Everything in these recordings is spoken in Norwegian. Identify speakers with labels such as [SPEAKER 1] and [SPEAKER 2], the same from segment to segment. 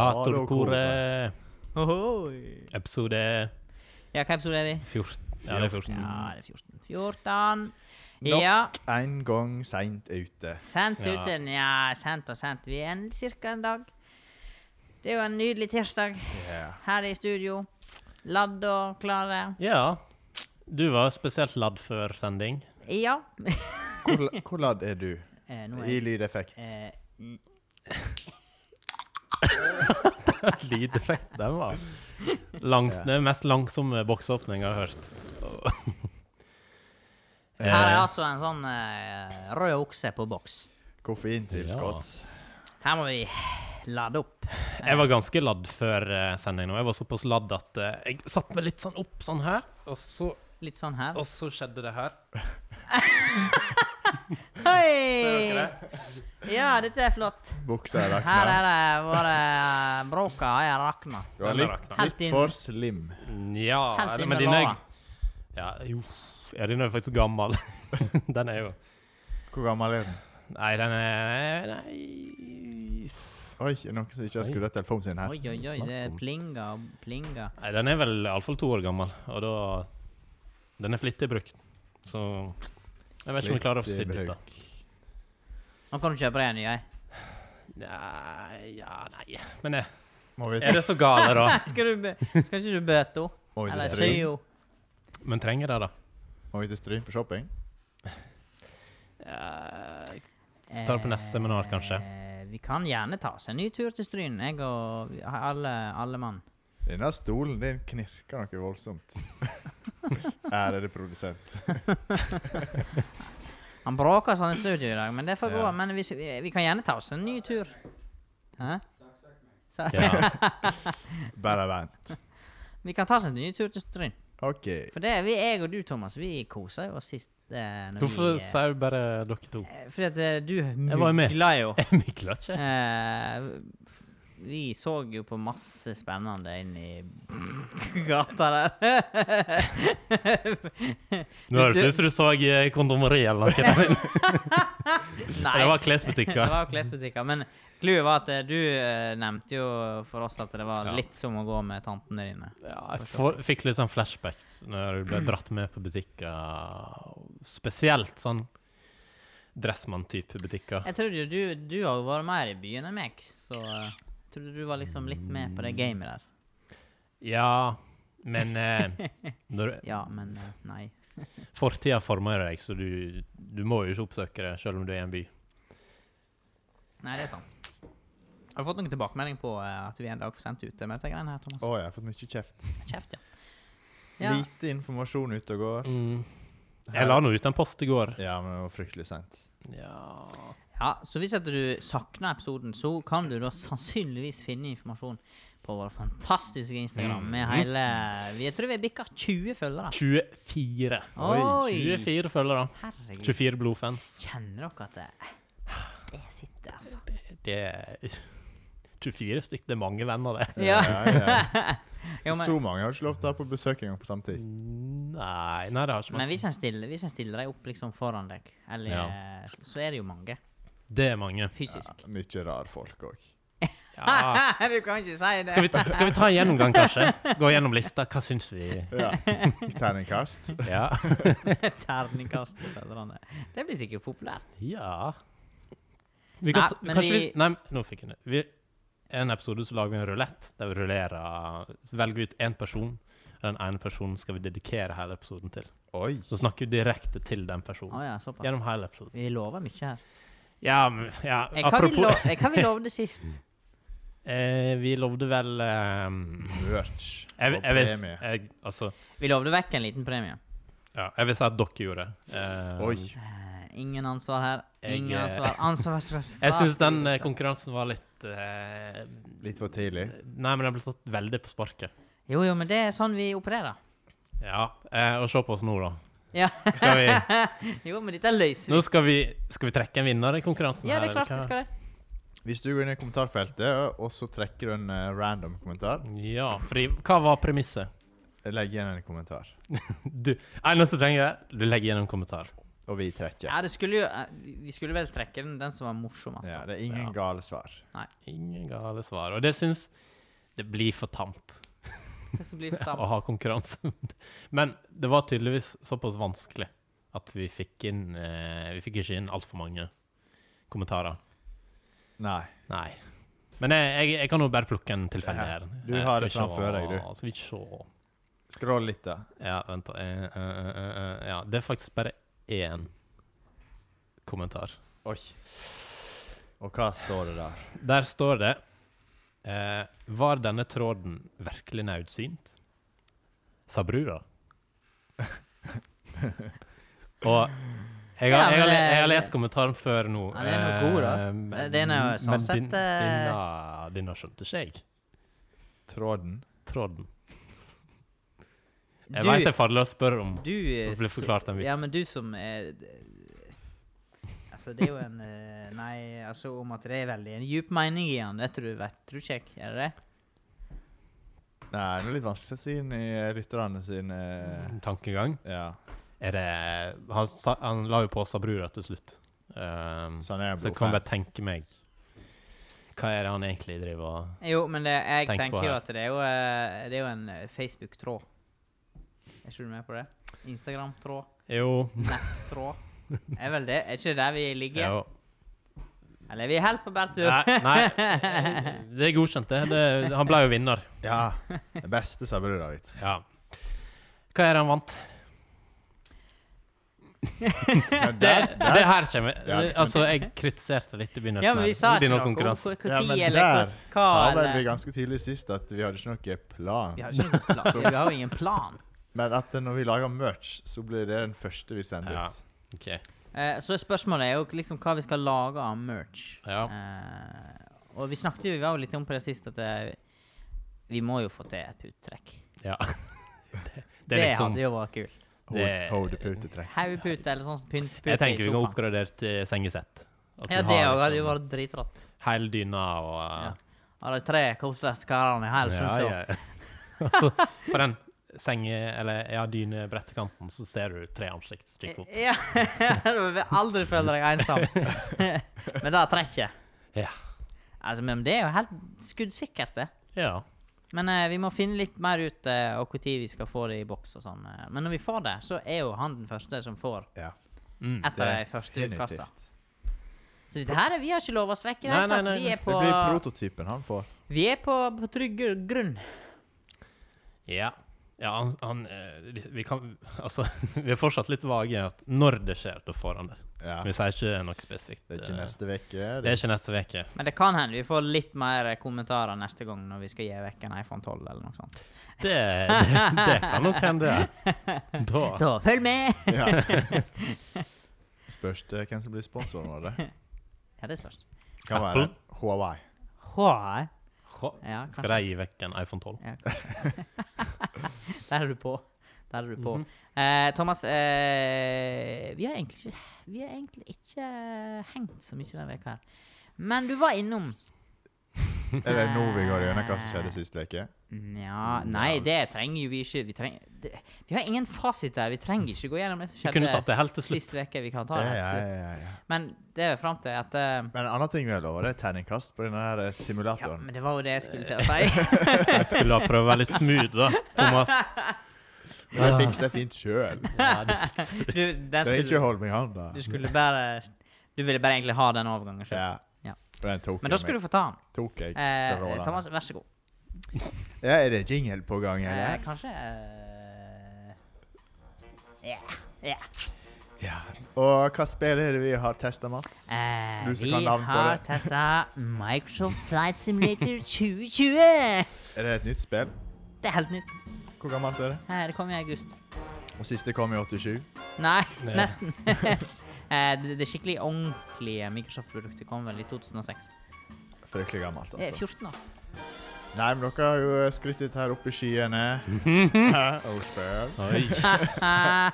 [SPEAKER 1] Kommentatorkoret.
[SPEAKER 2] Ohoi.
[SPEAKER 1] Episode
[SPEAKER 2] Ja, hva episode er vi?
[SPEAKER 1] 14. Ja, det er 14.
[SPEAKER 2] Ja, det er 14. 14.
[SPEAKER 3] Nok
[SPEAKER 2] Ja.
[SPEAKER 3] en gang seint ute.
[SPEAKER 2] Sendt
[SPEAKER 1] Ja.
[SPEAKER 2] ut en Ja, sendt og sendt. Vi er en, cirka en dag. Det er jo en nydelig tirsdag
[SPEAKER 3] Ja.
[SPEAKER 2] her i studio. Ladd og klare.
[SPEAKER 1] Ja. Du var spesielt ladd før sending.
[SPEAKER 2] Ja.
[SPEAKER 3] Hvor, la- hvor ladd er du
[SPEAKER 2] Eh, nå er
[SPEAKER 3] i
[SPEAKER 2] jeg-
[SPEAKER 3] lydeffekt?
[SPEAKER 2] eh,
[SPEAKER 1] Lydeffekt, den var Langs,
[SPEAKER 3] Ja.
[SPEAKER 1] Det er mest langsomme boksåpning jeg har hørt.
[SPEAKER 2] her er
[SPEAKER 1] Eh,
[SPEAKER 2] altså en sånn eh, rød okse på boks.
[SPEAKER 3] Koffeintilskudd.
[SPEAKER 2] Her må vi lade opp.
[SPEAKER 1] Jeg var ganske ladd før eh, sending nå. Jeg var såpass ladd at eh, jeg satte meg litt sånn opp sånn her, og så,
[SPEAKER 2] Litt sånn her.
[SPEAKER 1] og så skjedde det her.
[SPEAKER 2] Hei! Ja, dette er flott.
[SPEAKER 3] Buksa er
[SPEAKER 2] Her er
[SPEAKER 3] rakna.
[SPEAKER 2] det våre bråka har rakna.
[SPEAKER 3] Du er litt,
[SPEAKER 1] Helt
[SPEAKER 3] litt
[SPEAKER 2] inn.
[SPEAKER 3] for slim.
[SPEAKER 1] Ja,
[SPEAKER 2] Helt
[SPEAKER 1] eller, men
[SPEAKER 2] inn med
[SPEAKER 1] din er
[SPEAKER 2] låra.
[SPEAKER 1] Ja, jo. Ja, din er jo faktisk gammel. den er jo
[SPEAKER 3] Hvor gammel er den?
[SPEAKER 1] Nei, den er Nei,
[SPEAKER 3] Oi, er det noen som ikke har skrudd av telefonen sin her?
[SPEAKER 2] Oi, oi, oi,
[SPEAKER 1] Snakk
[SPEAKER 2] det
[SPEAKER 1] om-
[SPEAKER 2] plinga og plinga.
[SPEAKER 1] nei den er vel iallfall to år gammel, og da Den er flittig brukt, så Jeg vet ikke om jeg klarer å få
[SPEAKER 3] Flittig
[SPEAKER 1] svidd ut, da.
[SPEAKER 3] bruk.
[SPEAKER 2] Nå kan du kjøpe deg en ny, jeg.
[SPEAKER 1] Nei, ja, nei Men er,
[SPEAKER 3] Må vi,
[SPEAKER 1] er det så gale, da?
[SPEAKER 2] Skal, du, bø- skal ikke du bøte henne?
[SPEAKER 3] må vi til
[SPEAKER 2] Eller sy
[SPEAKER 3] Stryn?
[SPEAKER 2] henne?
[SPEAKER 1] Men trenger det, da?
[SPEAKER 3] Må vi til Stryn på shopping?
[SPEAKER 1] Vi tar det på neste seminar, kanskje.
[SPEAKER 2] Eh, Vi kan gjerne ta oss en ny tur til Stryn, jeg og vi- alle, alle mann.
[SPEAKER 3] Denne stolen din knirker noe voldsomt. Ærede produsent.
[SPEAKER 2] Han bråker sånn i studio i dag, men det får
[SPEAKER 3] Ja.
[SPEAKER 2] gå. Men vi, s- vi vi kan gjerne ta oss en ny tur. Hæ? Sa-
[SPEAKER 1] Ja.
[SPEAKER 3] Bare vent.
[SPEAKER 2] Vi kan ta oss en ny tur til Stryn.
[SPEAKER 3] OK.
[SPEAKER 2] For det er vi, jeg og du, Thomas, vi koser jo oss sist. Eh, når
[SPEAKER 1] Hvorfor
[SPEAKER 2] vi, eh,
[SPEAKER 1] sier du bare dere to?
[SPEAKER 2] eh, Fordi at eh, du
[SPEAKER 1] var jo med.
[SPEAKER 2] mugla jo.
[SPEAKER 1] Jeg mikler ikke.
[SPEAKER 2] Eh, vi så jo på masse spennende inn i gata der.
[SPEAKER 1] Nå høres det ut som du så eh, kondomeri eller noe.
[SPEAKER 2] Nei,
[SPEAKER 1] Det var
[SPEAKER 2] det
[SPEAKER 1] klesbutikker.
[SPEAKER 2] var klesbutikker. Men clouet var at eh, du eh, nevnte jo for oss at det var
[SPEAKER 1] Ja.
[SPEAKER 2] litt som å gå med tantene dine.
[SPEAKER 1] Ja, jeg får, fikk litt sånn flashback når du ble dratt med på butikker. Spesielt sånn Dressmann-type butikker.
[SPEAKER 2] Jeg trodde jo du, du har jo vært mer i byen enn meg, så eh, jeg trodde du var liksom litt med på det gamet der.
[SPEAKER 1] Ja, men eh, når,
[SPEAKER 2] Ja, men eh, nei.
[SPEAKER 1] Fortida former jo deg, så du, du må jo ikke oppsøke det selv om du er i en by.
[SPEAKER 2] Nei, det er sant. Har du fått noen tilbakemelding på eh, at vi er en dag for sent ute med dette greiene her,
[SPEAKER 3] Å,
[SPEAKER 2] Thomas?
[SPEAKER 3] jeg har fått mye kjeft.
[SPEAKER 2] Kjeft, ja. ja.
[SPEAKER 3] Lite informasjon ute og går.
[SPEAKER 1] Jeg la nå ut en post i går.
[SPEAKER 3] Ja, men det var fryktelig sent.
[SPEAKER 1] Ja.
[SPEAKER 2] Ja, så hvis at du savner episoden, så kan du da sannsynligvis finne informasjon på vår fantastiske Instagram med
[SPEAKER 1] Mhm.
[SPEAKER 2] hele vi- Jeg tror vi har bikka 20 følgere.
[SPEAKER 1] 24.
[SPEAKER 2] Oi.
[SPEAKER 1] 24 følgere.
[SPEAKER 2] Herregud.
[SPEAKER 1] 24 blodfans.
[SPEAKER 2] Kjenner dere at det, det sitter, altså?
[SPEAKER 1] Det er 24 stykk, det er mange venner, det.
[SPEAKER 2] Ja.
[SPEAKER 3] ja.
[SPEAKER 2] Jo, men,
[SPEAKER 3] Så mange har ikke lov til å ha på besøk engang på samme tid.
[SPEAKER 1] Nei, nei, det har ikke
[SPEAKER 2] men
[SPEAKER 1] vært
[SPEAKER 2] hvis en stiller, hvis en stiller deg opp liksom foran deg, eller,
[SPEAKER 1] Ja.
[SPEAKER 2] så er det jo mange
[SPEAKER 1] Det er mange.
[SPEAKER 2] fysisk.
[SPEAKER 3] Mye rar folk òg.
[SPEAKER 1] Ja.
[SPEAKER 2] du kan ikke si det!
[SPEAKER 1] Skal, vi ta, skal vi ta en gjennomgang, kanskje? Gå gjennom lista. Hva syns vi?
[SPEAKER 3] Ja. Terningkast.
[SPEAKER 1] Ja.
[SPEAKER 2] Terningkast til fedrene. Det blir sikkert populært.
[SPEAKER 1] ja. Vi kan
[SPEAKER 2] Nei,
[SPEAKER 1] ta,
[SPEAKER 2] men
[SPEAKER 1] kanskje vi,
[SPEAKER 2] vi-
[SPEAKER 1] Nei, nå fikk jeg det. Vi, en episode så lager vi en rulett der vi rullerer Så velger vi ut én person. og Den ene personen skal vi dedikere hele episoden til.
[SPEAKER 3] Oi.
[SPEAKER 1] Så snakker vi direkte til den
[SPEAKER 2] Å
[SPEAKER 1] personen.
[SPEAKER 2] ja, såpass.
[SPEAKER 1] Gjennom hele episoden.
[SPEAKER 2] Vi lover mye her.
[SPEAKER 1] Ja, men ja,
[SPEAKER 2] Eh, Hva vi,
[SPEAKER 1] apropos
[SPEAKER 2] lo eh, hva vi lovde sist?
[SPEAKER 1] eh, Vi lovde vel eh,
[SPEAKER 3] Merch.
[SPEAKER 1] jeg,
[SPEAKER 3] og
[SPEAKER 1] jeg, vil-
[SPEAKER 3] premie.
[SPEAKER 1] jeg, altså,
[SPEAKER 2] Vi lovde vekk en liten premie.
[SPEAKER 1] ja, jeg vil si at dere gjorde det. Eh,
[SPEAKER 3] Oi.
[SPEAKER 2] Eh, Ingen ansvar her.
[SPEAKER 1] Jeg,
[SPEAKER 2] Ingen
[SPEAKER 1] eh,
[SPEAKER 2] ansvar. Ansvarsplass.
[SPEAKER 1] Jeg syns den eh, konkurransen var litt eh,
[SPEAKER 3] Litt for tidlig.
[SPEAKER 1] Nei, men den ble tatt veldig på sparket.
[SPEAKER 2] Jo, jo, men det er sånn vi opererer.
[SPEAKER 1] Ja, eh, og se på oss nå, da.
[SPEAKER 2] Ja.
[SPEAKER 1] Skal vi,
[SPEAKER 2] Jo, men dette løser vi.
[SPEAKER 1] nå skal vi, skal vi trekke en vinner i konkurransen
[SPEAKER 2] Ja,
[SPEAKER 1] her.
[SPEAKER 2] det er klart vi
[SPEAKER 1] eller hva?
[SPEAKER 2] skal det.
[SPEAKER 3] Hvis du går inn i kommentarfeltet, og så trekker du en eh, random kommentar,
[SPEAKER 1] Ja, fordi hva var premisset?
[SPEAKER 3] legg igjen en kommentar.
[SPEAKER 1] Du, eneste du trenger, du legger igjen en kommentar.
[SPEAKER 3] Og vi trekker.
[SPEAKER 2] Ja, det skulle jo eh, Vi skulle vel trekke den, den som var morsomst.
[SPEAKER 3] Ja,
[SPEAKER 2] da.
[SPEAKER 3] det er ingen
[SPEAKER 1] Ja.
[SPEAKER 3] gale svar.
[SPEAKER 1] Ingen gale svar. Og det syns Det blir for tamt
[SPEAKER 2] Hva som blir for
[SPEAKER 1] å
[SPEAKER 2] tamt?
[SPEAKER 1] ha konkurranse. Men det var tydeligvis såpass vanskelig at vi fikk inn eh, Vi fikk ikke inn altfor mange kommentarer.
[SPEAKER 3] Nei.
[SPEAKER 1] Nei. Men jeg, jeg, jeg kan jo bare plukke en tilfeldig her.
[SPEAKER 3] Du
[SPEAKER 1] Eh,
[SPEAKER 3] har
[SPEAKER 1] skal
[SPEAKER 3] det
[SPEAKER 1] vi se-
[SPEAKER 3] framfor deg, du.
[SPEAKER 1] Skal vi se
[SPEAKER 3] Skroll litt, da.
[SPEAKER 1] Ja, vent da. Eh, eh, eh, eh, ja, det er faktisk bare én kommentar.
[SPEAKER 3] Oi. Og hva står det der?
[SPEAKER 1] Der står det eh, Var denne tråden virkelig naudsynt? Sa brura. Og jeg
[SPEAKER 2] Ja,
[SPEAKER 1] har, jeg, har,
[SPEAKER 2] men,
[SPEAKER 1] le- jeg har
[SPEAKER 2] eh,
[SPEAKER 1] lest kommentaren før nå.
[SPEAKER 2] Ja, den er jo god, da.
[SPEAKER 1] eh,
[SPEAKER 2] Den er jo sånn
[SPEAKER 1] men
[SPEAKER 2] sett,
[SPEAKER 1] din-
[SPEAKER 2] eh,
[SPEAKER 1] denne- Denne skjønte ikke jeg.
[SPEAKER 3] Tråden?
[SPEAKER 1] Tråden. Jeg veit
[SPEAKER 2] Du,
[SPEAKER 1] jeg faller og spør om
[SPEAKER 2] du eh,
[SPEAKER 1] Det ble
[SPEAKER 2] så-
[SPEAKER 1] forklart en vits.
[SPEAKER 2] Ja, men du som er eh, Altså, det er jo en eh, Nei, altså om at det er veldig en djup mening i han, det tror du vet, tror ikke jeg. Er det det?
[SPEAKER 3] Nei, det er litt vanskelig å si inn i lytterne sine eh,
[SPEAKER 1] eh, tankegang.
[SPEAKER 3] Ja,
[SPEAKER 1] Er det Han, sa, han la jo på seg brura til slutt. Ehm,
[SPEAKER 3] sånn er
[SPEAKER 1] så
[SPEAKER 3] jeg
[SPEAKER 1] jeg kan bare tenke meg Hva er det han egentlig driver og
[SPEAKER 2] Jo, men det, jeg
[SPEAKER 1] Tenk på
[SPEAKER 2] tenker jo
[SPEAKER 1] her.
[SPEAKER 2] at det er jo, eh, det er jo en eh, Facebook-tråd. Er ikke du med på det? Instagram-tråd?
[SPEAKER 1] Jo.
[SPEAKER 2] Nett-tråd? Er vel det? Er ikke det der vi ligger?
[SPEAKER 1] jo.
[SPEAKER 2] Eller vi er helt på bærtur.
[SPEAKER 1] Nei, nei, det er godkjent, det. det. Han ble jo vinner.
[SPEAKER 3] Ja. Det beste sa brura-vitsen.
[SPEAKER 1] Ja. Hva er det han vant?
[SPEAKER 3] Men
[SPEAKER 1] Det,
[SPEAKER 3] der- der-
[SPEAKER 1] det her kommer
[SPEAKER 3] Ja, det-
[SPEAKER 1] Altså, jeg kritiserte litt i begynnelsen.
[SPEAKER 2] Ja, men vi
[SPEAKER 1] her.
[SPEAKER 2] sa ikke
[SPEAKER 1] Begynner
[SPEAKER 2] noe.
[SPEAKER 1] konkurranse.
[SPEAKER 2] Hvor, hvor
[SPEAKER 3] Ja, men
[SPEAKER 2] tid eller
[SPEAKER 3] der
[SPEAKER 2] hvor, hva
[SPEAKER 3] sa vel vi
[SPEAKER 2] eller
[SPEAKER 3] ganske tidlig sist at vi hadde ikke noe plan.
[SPEAKER 2] Vi har ikke noen plan. Vi har jo ingen plan.
[SPEAKER 3] Men at når vi lager merch, så blir det den første vi sender
[SPEAKER 1] Ja.
[SPEAKER 3] ut.
[SPEAKER 1] Ok.
[SPEAKER 2] Eh, så spørsmålet er jo liksom hva vi skal lage av merch.
[SPEAKER 1] Ja.
[SPEAKER 2] Eh, og vi snakket jo vi var jo litt om på det sist at eh, vi må jo få til et uttrekk.
[SPEAKER 1] ja.
[SPEAKER 2] Det,
[SPEAKER 1] Det er liksom
[SPEAKER 2] hadde jo vært kult.
[SPEAKER 1] Det-
[SPEAKER 3] Ho- Hodeputetrekk.
[SPEAKER 2] Haugpute eller sånn puntepute
[SPEAKER 1] Jeg tenker
[SPEAKER 2] i
[SPEAKER 1] vi kan
[SPEAKER 2] sofaen.
[SPEAKER 1] oppgradere til sengesett. At du
[SPEAKER 2] Ja, det
[SPEAKER 1] har
[SPEAKER 2] òg hadde jo
[SPEAKER 1] liksom
[SPEAKER 2] vært dritrått.
[SPEAKER 1] Hele dyna og eh,
[SPEAKER 2] Ja. Av de tre koseligste karene i hele
[SPEAKER 1] Ja,
[SPEAKER 2] Sunnfjord.
[SPEAKER 1] ja. Altså, på den senge- eller ja, dynebrettekanten så ser du tre ansikt stikke opp.
[SPEAKER 2] Ja, du vil aldri føle deg ensom. Men det trekket
[SPEAKER 1] Ja.
[SPEAKER 2] Altså, men det er jo helt skuddsikkert, det.
[SPEAKER 1] Ja.
[SPEAKER 2] Men eh, vi må finne litt mer ut eh, og når vi skal få det i boks og sånn. eh. Men når vi får det, så er jo han den første som får
[SPEAKER 3] Ja.
[SPEAKER 1] Mm.
[SPEAKER 2] et av de første utkasta. Så dette her, er- vi har ikke lova oss vekk i det
[SPEAKER 1] Nei,
[SPEAKER 2] hele tatt.
[SPEAKER 1] nei, nei,
[SPEAKER 2] Vi er
[SPEAKER 3] Det
[SPEAKER 2] på,
[SPEAKER 3] blir prototypen han får.
[SPEAKER 2] vi er på, på trygg grunn.
[SPEAKER 1] Ja. ja han, han eh, Vi kan Altså, vi er fortsatt litt vage i at når det skjer, da får han det.
[SPEAKER 3] Ja.
[SPEAKER 1] Vi sier ikke noe spesifikt.
[SPEAKER 3] Det er ikke
[SPEAKER 1] eh,
[SPEAKER 3] neste uke.
[SPEAKER 1] Det er ikke neste uke.
[SPEAKER 2] Men det kan hende vi får litt mer eh, kommentarer neste gang når vi skal gi vekk en iPhone 12 eller noe sånt.
[SPEAKER 1] Det, det, det kan nok hende. Da
[SPEAKER 2] Så følg med!
[SPEAKER 3] Ja. Spørs det hvem som blir sponsoren vår. det.
[SPEAKER 2] Ja, det spørs.
[SPEAKER 3] Kan
[SPEAKER 1] Apple?
[SPEAKER 3] være Huawei.
[SPEAKER 2] Hå,
[SPEAKER 1] Hå,
[SPEAKER 2] Ja,
[SPEAKER 1] Skal de gi vekk en iPhone 12?
[SPEAKER 2] Ja, kanskje. Der er du på. Der er du på. eh, Thomas, eh, vi har egentlig ikke, vi har egentlig ikke eh, hengt så mye denne veka her. Men du var innom
[SPEAKER 3] Er det nå vi går gjennom hva som skjedde sist uke?
[SPEAKER 2] Nja Nei, det trenger jo vi ikke. Vi, trenger, det, vi har ingen fasit der. Vi trenger ikke gå gjennom det som
[SPEAKER 1] Vi kunne tatt
[SPEAKER 2] skjedde
[SPEAKER 1] det helt til
[SPEAKER 2] sist
[SPEAKER 1] slutt.
[SPEAKER 2] uke. Vi kan ta
[SPEAKER 3] Ja,
[SPEAKER 2] det
[SPEAKER 3] ja,
[SPEAKER 2] helt til slutt.
[SPEAKER 3] ja, ja.
[SPEAKER 2] Men det er fram til at eh,
[SPEAKER 3] Men en annen ting vi har lova, det er terningkast på denne her eh,
[SPEAKER 2] Ja,
[SPEAKER 3] simulatoren.
[SPEAKER 2] men det var jo det jeg skulle til å si.
[SPEAKER 1] Jeg skulle ha prøvd å være litt smooth, da, Thomas.
[SPEAKER 3] Men jeg fikser det fint sjøl.
[SPEAKER 1] Ja, det fikser
[SPEAKER 2] Du, den
[SPEAKER 3] Det er ikke
[SPEAKER 2] skulle,
[SPEAKER 3] å holde meg i hånda.
[SPEAKER 2] du skulle bare Du ville bare egentlig ha den overgangen sjøl.
[SPEAKER 3] Ja.
[SPEAKER 2] Ja.
[SPEAKER 3] Den tok
[SPEAKER 2] Men da
[SPEAKER 3] jeg
[SPEAKER 2] skulle
[SPEAKER 3] meg.
[SPEAKER 2] du få ta den.
[SPEAKER 3] Tok jeg
[SPEAKER 2] Eh,
[SPEAKER 3] strålende.
[SPEAKER 2] Thomas, vær så god.
[SPEAKER 3] Ja, er det jingle på gang,
[SPEAKER 2] Eh,
[SPEAKER 3] eller?
[SPEAKER 2] kanskje eh, yeah, yeah.
[SPEAKER 3] Ja. Og hva spill er det vi har testa, Mats?
[SPEAKER 2] Eh,
[SPEAKER 3] Du som
[SPEAKER 2] Vi
[SPEAKER 3] kan navn på
[SPEAKER 2] har
[SPEAKER 3] det.
[SPEAKER 2] testa Microsoft Flight Simulator 2020.
[SPEAKER 3] Er det et nytt spill?
[SPEAKER 2] Det er helt nytt.
[SPEAKER 3] Hvor gammelt er det?
[SPEAKER 2] Eh, Det kom i august.
[SPEAKER 3] Og siste kom i 87.
[SPEAKER 2] Nei,
[SPEAKER 1] Nei.
[SPEAKER 2] nesten. Eh, det, det skikkelig ordentlige Microsoft-produktet kom vel i 2006.
[SPEAKER 3] Fryktelig gammelt,
[SPEAKER 2] Det er
[SPEAKER 3] altså.
[SPEAKER 2] 14 år.
[SPEAKER 3] Nei, men dere har jo skrytt litt her oppe i skyene. Og spill.
[SPEAKER 1] Oi.
[SPEAKER 2] Eh,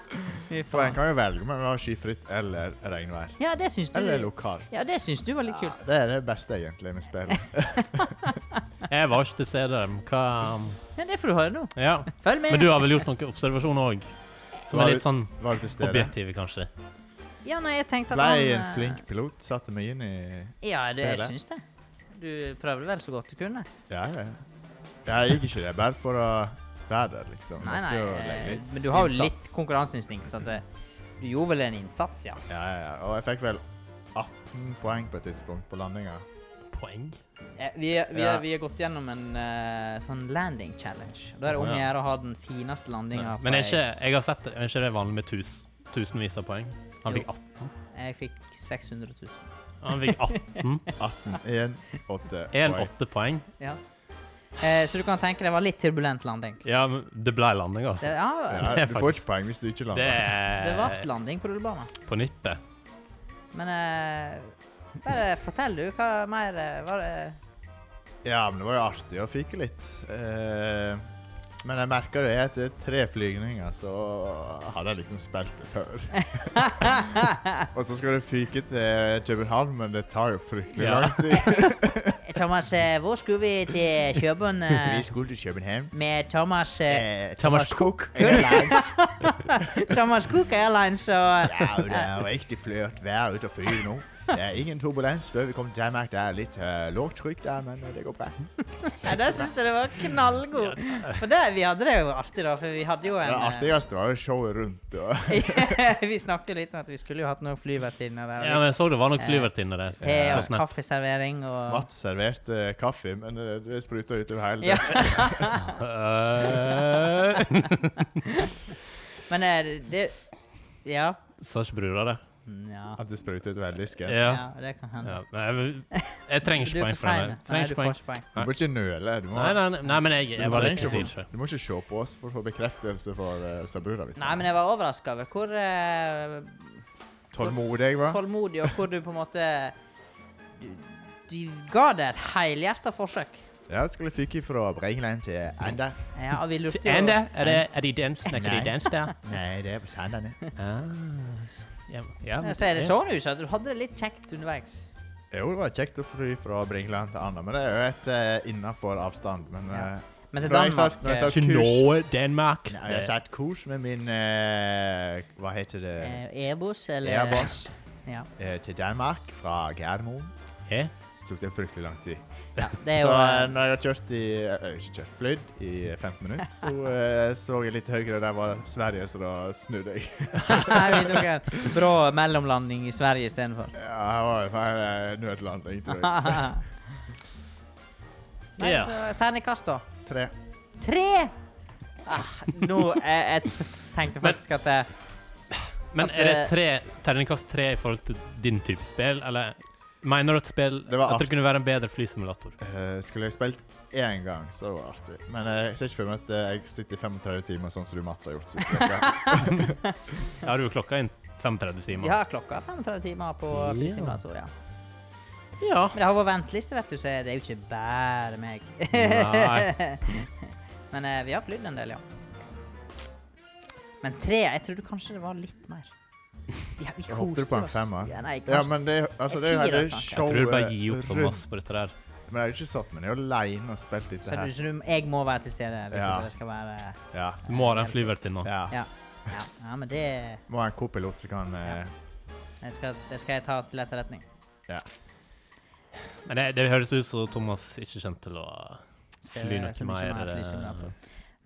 [SPEAKER 2] Fy
[SPEAKER 3] For en
[SPEAKER 2] faen.
[SPEAKER 3] kan jo velge mellom å ha skyfritt eller regnvær.
[SPEAKER 2] Ja, det syns du,
[SPEAKER 3] Eller lokal.
[SPEAKER 2] ja, det syns du var litt
[SPEAKER 3] Ja,
[SPEAKER 2] Mm. kult.
[SPEAKER 3] det er det beste egentlig med spillet.
[SPEAKER 1] Jeg var ikke til stede. men Hva
[SPEAKER 2] Ja, det får du høre nå.
[SPEAKER 1] Ja.
[SPEAKER 2] Følg med.
[SPEAKER 1] Men du har vel gjort noen observasjoner òg? Som
[SPEAKER 3] Var
[SPEAKER 1] er
[SPEAKER 3] du-
[SPEAKER 1] litt sånn
[SPEAKER 3] Var du til stede?
[SPEAKER 1] objektive, kanskje?
[SPEAKER 2] Ja, nei, jeg tenkte at
[SPEAKER 3] Ble
[SPEAKER 2] han
[SPEAKER 3] en
[SPEAKER 2] eh,
[SPEAKER 3] flink pilot. Satte meg inn i
[SPEAKER 2] Ja, det, jeg
[SPEAKER 3] spillet.
[SPEAKER 2] syns det. Du prøvde vel så godt du kunne.
[SPEAKER 3] Ja, ja. Jeg gikk ikke det bare for å være der, liksom.
[SPEAKER 2] Nei,
[SPEAKER 3] Måtte
[SPEAKER 2] nei,
[SPEAKER 3] jo legge
[SPEAKER 2] eh,
[SPEAKER 3] litt
[SPEAKER 2] men du har jo litt
[SPEAKER 3] innsats.
[SPEAKER 2] konkurranseinstinkt, så at eh, du gjorde vel en innsats, ja.
[SPEAKER 3] Ja, ja, ja. Og jeg fikk vel 18 poeng på et tidspunkt på landinga.
[SPEAKER 1] Poeng?
[SPEAKER 2] Eh, Vi, vi,
[SPEAKER 3] Ja.
[SPEAKER 2] vi har gått gjennom en eh, sånn landing challenge. Og Da er det om
[SPEAKER 3] Ja.
[SPEAKER 2] å gjøre å ha den fineste landinga.
[SPEAKER 1] Men er ikke, jeg har sett det, er ikke det vanlig med tus, tusenvis av poeng? Han
[SPEAKER 2] Jo.
[SPEAKER 1] fikk 18.
[SPEAKER 2] Jeg fikk 600 000.
[SPEAKER 1] Han fikk 18.
[SPEAKER 2] Hm.
[SPEAKER 3] 18, 1, 8
[SPEAKER 1] 1 8 poeng.
[SPEAKER 2] Ja. Eh, så du kan tenke det var litt turbulent landing.
[SPEAKER 1] Ja, men det ble landing,
[SPEAKER 2] Det,
[SPEAKER 1] altså.
[SPEAKER 2] ja,
[SPEAKER 3] Ja,
[SPEAKER 1] Det er
[SPEAKER 3] du får
[SPEAKER 1] faktisk-
[SPEAKER 3] ikke poeng hvis du ikke
[SPEAKER 1] Det
[SPEAKER 3] lander.
[SPEAKER 2] det ble
[SPEAKER 1] er
[SPEAKER 2] landing på rullebanen.
[SPEAKER 1] på nippet.
[SPEAKER 2] Men eh, bare fortell, du. Hva mer eh, var det
[SPEAKER 3] Ja, men det var jo artig å fyke litt. Eh, men jeg merka det etter tre flygninger, så hadde jeg liksom spilt det før. Og så skal du fyke til København, men det tar jo fryktelig
[SPEAKER 1] Ja.
[SPEAKER 3] lang tid.
[SPEAKER 2] Thomas, eh, hvor skulle vi til København eh,
[SPEAKER 3] Vi skulle til København.
[SPEAKER 2] med Thomas eh,
[SPEAKER 3] Eh,
[SPEAKER 1] Thomas Cook.
[SPEAKER 3] Airlines.
[SPEAKER 2] Thomas Cook Airlines eh, og
[SPEAKER 3] Ja, det er riktig flørt vær ute og flyr nå. Det er ingen turbulens før vi kommer til Danmark. Det er litt uh, lågt trykk der, men eh, det går bra.
[SPEAKER 2] Ja, der syns jeg det var knallgod. For det, vi hadde det jo artig, da. For vi hadde jo en
[SPEAKER 3] Det
[SPEAKER 2] eh,
[SPEAKER 3] artigste var jo showet rundt. Og
[SPEAKER 2] vi snakket jo litt om at vi skulle jo hatt noen flyvertinner der. og
[SPEAKER 1] Ja, men jeg så det var nok flyvertinner der. eh,
[SPEAKER 2] Te
[SPEAKER 1] På
[SPEAKER 2] og
[SPEAKER 1] Snap.
[SPEAKER 2] kaffeservering og
[SPEAKER 3] Mats serverte kaffe, men eh, det spruta utover hele
[SPEAKER 2] ja.
[SPEAKER 1] Øh,
[SPEAKER 2] Men eh, det Ja. Mm,
[SPEAKER 1] Sa ikke brura det?
[SPEAKER 2] Ja,
[SPEAKER 3] At det spruta utover hele disken.
[SPEAKER 1] Ja.
[SPEAKER 2] ja det kan hende.
[SPEAKER 1] ja. Nei, men Jeg trenger
[SPEAKER 2] Du
[SPEAKER 1] ikke
[SPEAKER 2] er
[SPEAKER 1] poeng
[SPEAKER 2] for
[SPEAKER 1] for den.
[SPEAKER 2] sein.
[SPEAKER 1] der.
[SPEAKER 2] Nei,
[SPEAKER 1] Trenger
[SPEAKER 2] du
[SPEAKER 1] ikke
[SPEAKER 2] får
[SPEAKER 1] poeng.
[SPEAKER 2] ikke poeng.
[SPEAKER 3] Du må ikke nøle. Du må,
[SPEAKER 1] Nei, nei, nei, men jeg, jeg var litt i
[SPEAKER 3] trenger
[SPEAKER 1] tvil
[SPEAKER 3] ikke,
[SPEAKER 1] selv.
[SPEAKER 3] du må ikke se på oss for å få bekreftelse for uh, Sabrura-vitsen.
[SPEAKER 2] Nei, men jeg var overraska over hvor eh,
[SPEAKER 3] Tålmodig, hva?
[SPEAKER 2] tålmodig og hvor du på en måte Du, du ga det et helhjerta forsøk.
[SPEAKER 3] Ja, jeg skulle fyke fra Brengeland til Anda.
[SPEAKER 2] Ja, og vi lurte jo
[SPEAKER 1] Enda, er, det, er de dans? Snakker de
[SPEAKER 3] Nei.
[SPEAKER 1] dans der?
[SPEAKER 3] Nei, det er på Sandane.
[SPEAKER 1] Ah, ja, ja,
[SPEAKER 2] Ja, Så er det sånn ut at du hadde det litt kjekt underveis.
[SPEAKER 3] Jo, det var kjekt å fly fra Brengeland til Anda, men det er jo et uh, innafor avstand. Men
[SPEAKER 2] Ja.
[SPEAKER 3] eh,
[SPEAKER 2] Men til
[SPEAKER 3] Når jeg
[SPEAKER 2] Danmark
[SPEAKER 3] satt- når jeg
[SPEAKER 2] eh,
[SPEAKER 3] satt-
[SPEAKER 1] Ikke noe Danmark.
[SPEAKER 3] nei, jeg satt kos med min eh, Hva heter det?
[SPEAKER 2] eh, Airbus eller
[SPEAKER 3] Airbus
[SPEAKER 2] Ja.
[SPEAKER 3] eh, til Danmark fra Gardermoen.
[SPEAKER 1] Ja.
[SPEAKER 3] Så tok det fryktelig lang tid.
[SPEAKER 2] ja. Det er
[SPEAKER 3] Så
[SPEAKER 2] jo
[SPEAKER 3] eh,
[SPEAKER 2] eh,
[SPEAKER 3] når jeg har kjørt i eh, ikke kjørt, flydd i 15 minutter, så eh, så jeg litt høyere, og der var Sverige, så da snudde jeg.
[SPEAKER 2] Vi tok en brå mellomlanding i Sverige istedenfor.
[SPEAKER 3] Ja, det var jo feil eh, nødlanding, tror jeg.
[SPEAKER 2] Nei,
[SPEAKER 1] Ja.
[SPEAKER 2] så terningkast, da.
[SPEAKER 3] Tre.
[SPEAKER 2] Tre! Ah, nå jeg, jeg tenkte
[SPEAKER 1] Men-
[SPEAKER 2] faktisk at eh,
[SPEAKER 1] Men
[SPEAKER 2] At,
[SPEAKER 1] er det
[SPEAKER 2] eh,
[SPEAKER 1] tre, terningkast tre i forhold til din type spill, eller mener du at spill
[SPEAKER 3] Det var
[SPEAKER 1] At det
[SPEAKER 3] art-
[SPEAKER 1] kunne være en bedre flysimulator?
[SPEAKER 3] Eh, skulle jeg spilt én gang, så hadde det vært artig. Men eh, jeg ser ikke for meg at eh, jeg sitter i 35 timer, sånn som du, Mats, har gjort. sist uke.
[SPEAKER 1] Jeg har jo klokka inn 35
[SPEAKER 2] vi
[SPEAKER 1] timer.
[SPEAKER 2] har klokka 35 timer på
[SPEAKER 1] Ja.
[SPEAKER 2] flysimulator, ja.
[SPEAKER 1] Ja.
[SPEAKER 2] Men det har vært venteliste, vet du, så det er jo ikke bare meg.
[SPEAKER 1] Nei.
[SPEAKER 2] Men eh, vi har flydd en del, ja. Men tre Jeg trodde kanskje det var litt mer. Vi, vi
[SPEAKER 3] Jeg håper du på en
[SPEAKER 2] oss.
[SPEAKER 3] femmer.
[SPEAKER 2] Ja, nei,
[SPEAKER 3] Ja,
[SPEAKER 2] kanskje.
[SPEAKER 3] men det, altså, det er jo
[SPEAKER 2] Fire,
[SPEAKER 3] hele
[SPEAKER 2] kanskje.
[SPEAKER 1] Jeg tror du bare gir
[SPEAKER 3] showet
[SPEAKER 1] opp, Thomas, på dette der.
[SPEAKER 3] Men jeg har jo ikke satt meg ned aleine og spilt dette
[SPEAKER 2] Så, du,
[SPEAKER 3] her.
[SPEAKER 2] så du, jeg må være til stede hvis
[SPEAKER 3] Ja.
[SPEAKER 2] ikke det skal være
[SPEAKER 3] Ja.
[SPEAKER 1] Du må ha den flyvertinna.
[SPEAKER 3] ja.
[SPEAKER 2] Ja. Ja, ja men det
[SPEAKER 3] Må ha en co-pilot som kan eh,
[SPEAKER 2] det skal, det skal jeg ta til etterretning.
[SPEAKER 1] Men det, det høres ut som Thomas ikke kommer til å
[SPEAKER 2] Skal
[SPEAKER 1] fly
[SPEAKER 2] jeg- så
[SPEAKER 1] noe
[SPEAKER 2] mye
[SPEAKER 1] mer.
[SPEAKER 2] mer
[SPEAKER 1] eh,
[SPEAKER 2] flysimulator.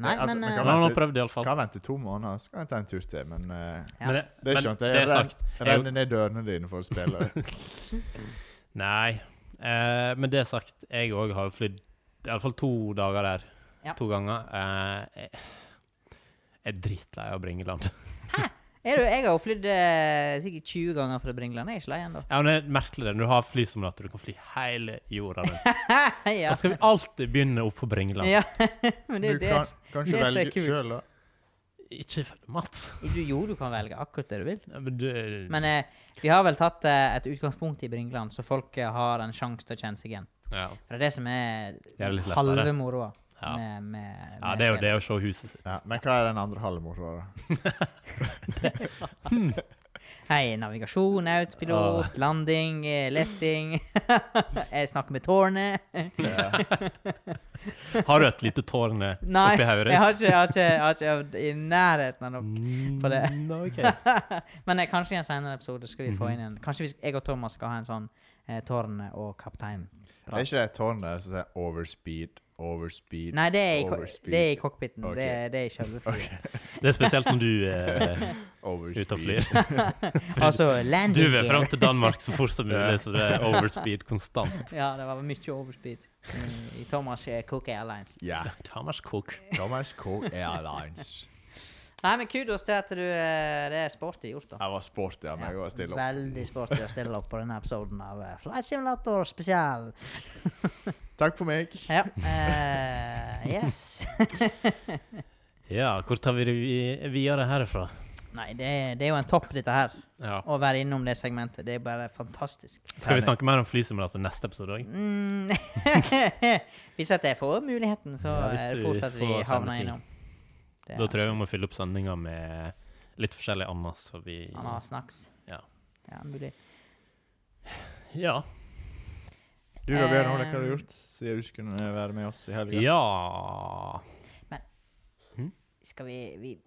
[SPEAKER 2] Nei,
[SPEAKER 3] altså,
[SPEAKER 2] men
[SPEAKER 3] men
[SPEAKER 2] eh,
[SPEAKER 1] Men han har prøvd, iallfall.
[SPEAKER 3] Kan vente to måneder, så kan jeg ta en tur til. Men eh,
[SPEAKER 2] Ja.
[SPEAKER 1] Men det,
[SPEAKER 3] det
[SPEAKER 1] men
[SPEAKER 3] er skjønt.
[SPEAKER 1] det
[SPEAKER 3] Jeg
[SPEAKER 1] er
[SPEAKER 3] ren-
[SPEAKER 1] sagt. jeg-
[SPEAKER 3] renner ned dørene dine for å spille.
[SPEAKER 1] Nei. Eh, men det sagt, jeg òg har flydd iallfall to dager der.
[SPEAKER 2] Ja.
[SPEAKER 1] To ganger. Eh, jeg, jeg er drittlei av Bringeland.
[SPEAKER 2] er du, jeg har jo flydd eh, sikkert 20 ganger fra Bringland. Jeg er ikke lei ennå.
[SPEAKER 1] Ja, men det er merkelig det. Når du har flysimulator, du kan fly hele jorda rundt.
[SPEAKER 2] ja.
[SPEAKER 1] Da skal vi alltid begynne opp på Bringeland.
[SPEAKER 2] ja. men det er
[SPEAKER 3] Altså, Du
[SPEAKER 2] jo
[SPEAKER 3] kan kanskje
[SPEAKER 2] det det som er
[SPEAKER 3] velge
[SPEAKER 2] kult.
[SPEAKER 3] sjøl, da.
[SPEAKER 1] Ikke for Mats.
[SPEAKER 2] du, Jo, du kan velge akkurat det du vil.
[SPEAKER 1] Ja, Men du
[SPEAKER 2] Men eh, vi har vel tatt eh, et utgangspunkt i Bringland, så folk eh, har en sjanse til å kjenne seg igjen.
[SPEAKER 1] ja.
[SPEAKER 2] For det er det som er
[SPEAKER 1] Ja, det er litt
[SPEAKER 2] halve
[SPEAKER 1] lettere.
[SPEAKER 2] moroa.
[SPEAKER 1] Ja.
[SPEAKER 2] Med, med,
[SPEAKER 1] ja,
[SPEAKER 2] med
[SPEAKER 1] det er jo det å se huset sitt.
[SPEAKER 3] Ja, men hva er den andre halve moroa, da?
[SPEAKER 2] Hei, navigasjon, autopilot, landing, eh, letting Jeg snakker med tårnet.
[SPEAKER 1] Har du et lite tårn eh,
[SPEAKER 2] Nei,
[SPEAKER 1] oppi hodet?
[SPEAKER 2] jeg har ikke, jeg har ikke, jeg har ikke øvd i nærheten av nok. på det.
[SPEAKER 1] Mm, ok.
[SPEAKER 2] Men eh, kanskje i en senere episode skal vi
[SPEAKER 1] Mhm.
[SPEAKER 2] få inn en Kanskje vi, sk- jeg og Thomas skal ha en sånn eh, tårnet og kaptein.
[SPEAKER 3] Er ikke det et tårn der som sier 'overspeed', 'overspeed'?
[SPEAKER 2] Nei, det er i, ko-
[SPEAKER 3] Overspeed.
[SPEAKER 2] det er i cockpiten.
[SPEAKER 3] Ok.
[SPEAKER 2] Det, er- det er i selve flyet.
[SPEAKER 1] Det er spesielt når du eh, er
[SPEAKER 3] overspeed.
[SPEAKER 1] ute og flyr.
[SPEAKER 2] Altså
[SPEAKER 1] Du
[SPEAKER 2] landing
[SPEAKER 1] vil
[SPEAKER 2] gear.
[SPEAKER 1] fram til Danmark så fort som
[SPEAKER 3] Ja.
[SPEAKER 1] mulig, så det er overspeed konstant.
[SPEAKER 2] Ja, det var mye overspeed i- i Thomas eh, Cook Airlines.
[SPEAKER 3] Ja.
[SPEAKER 1] Thomas Cook.
[SPEAKER 3] Thomas Coe Airlines.
[SPEAKER 2] Nei, men kudos til at du eh, Det er sporty gjort, da.
[SPEAKER 3] Jeg var sporty av meg å stille opp.
[SPEAKER 2] Veldig sporty å stille opp på denne episoden av eh, Flight Simulator spesial.
[SPEAKER 3] Takk for meg.
[SPEAKER 2] Ja. eh, yes.
[SPEAKER 1] Ja, hvor tar vi det vi- videre herfra?
[SPEAKER 2] Nei, det, er- det er jo en topp, dette her.
[SPEAKER 1] Ja.
[SPEAKER 2] Å være innom det segmentet. Det er bare fantastisk.
[SPEAKER 1] Skal vi snakke mer om flysimulator altså neste episode òg?
[SPEAKER 2] Mm. Hvis at jeg får muligheten, så
[SPEAKER 1] Ja, hvis
[SPEAKER 2] er det
[SPEAKER 1] du
[SPEAKER 2] fort at vi
[SPEAKER 1] får samme
[SPEAKER 2] havner
[SPEAKER 1] ting.
[SPEAKER 2] innom. Det
[SPEAKER 1] Da
[SPEAKER 2] er
[SPEAKER 1] tror jeg vi må fylle opp sendinga med litt forskjellig annet. Så vi
[SPEAKER 2] Han har snacks.
[SPEAKER 1] Ja.
[SPEAKER 2] ja mulig.
[SPEAKER 1] Ja.
[SPEAKER 3] Du, Gabriel, hva har
[SPEAKER 2] Eh.
[SPEAKER 3] du gjort siden du skulle være med oss i helga?
[SPEAKER 1] ja.
[SPEAKER 2] Skal vi, vi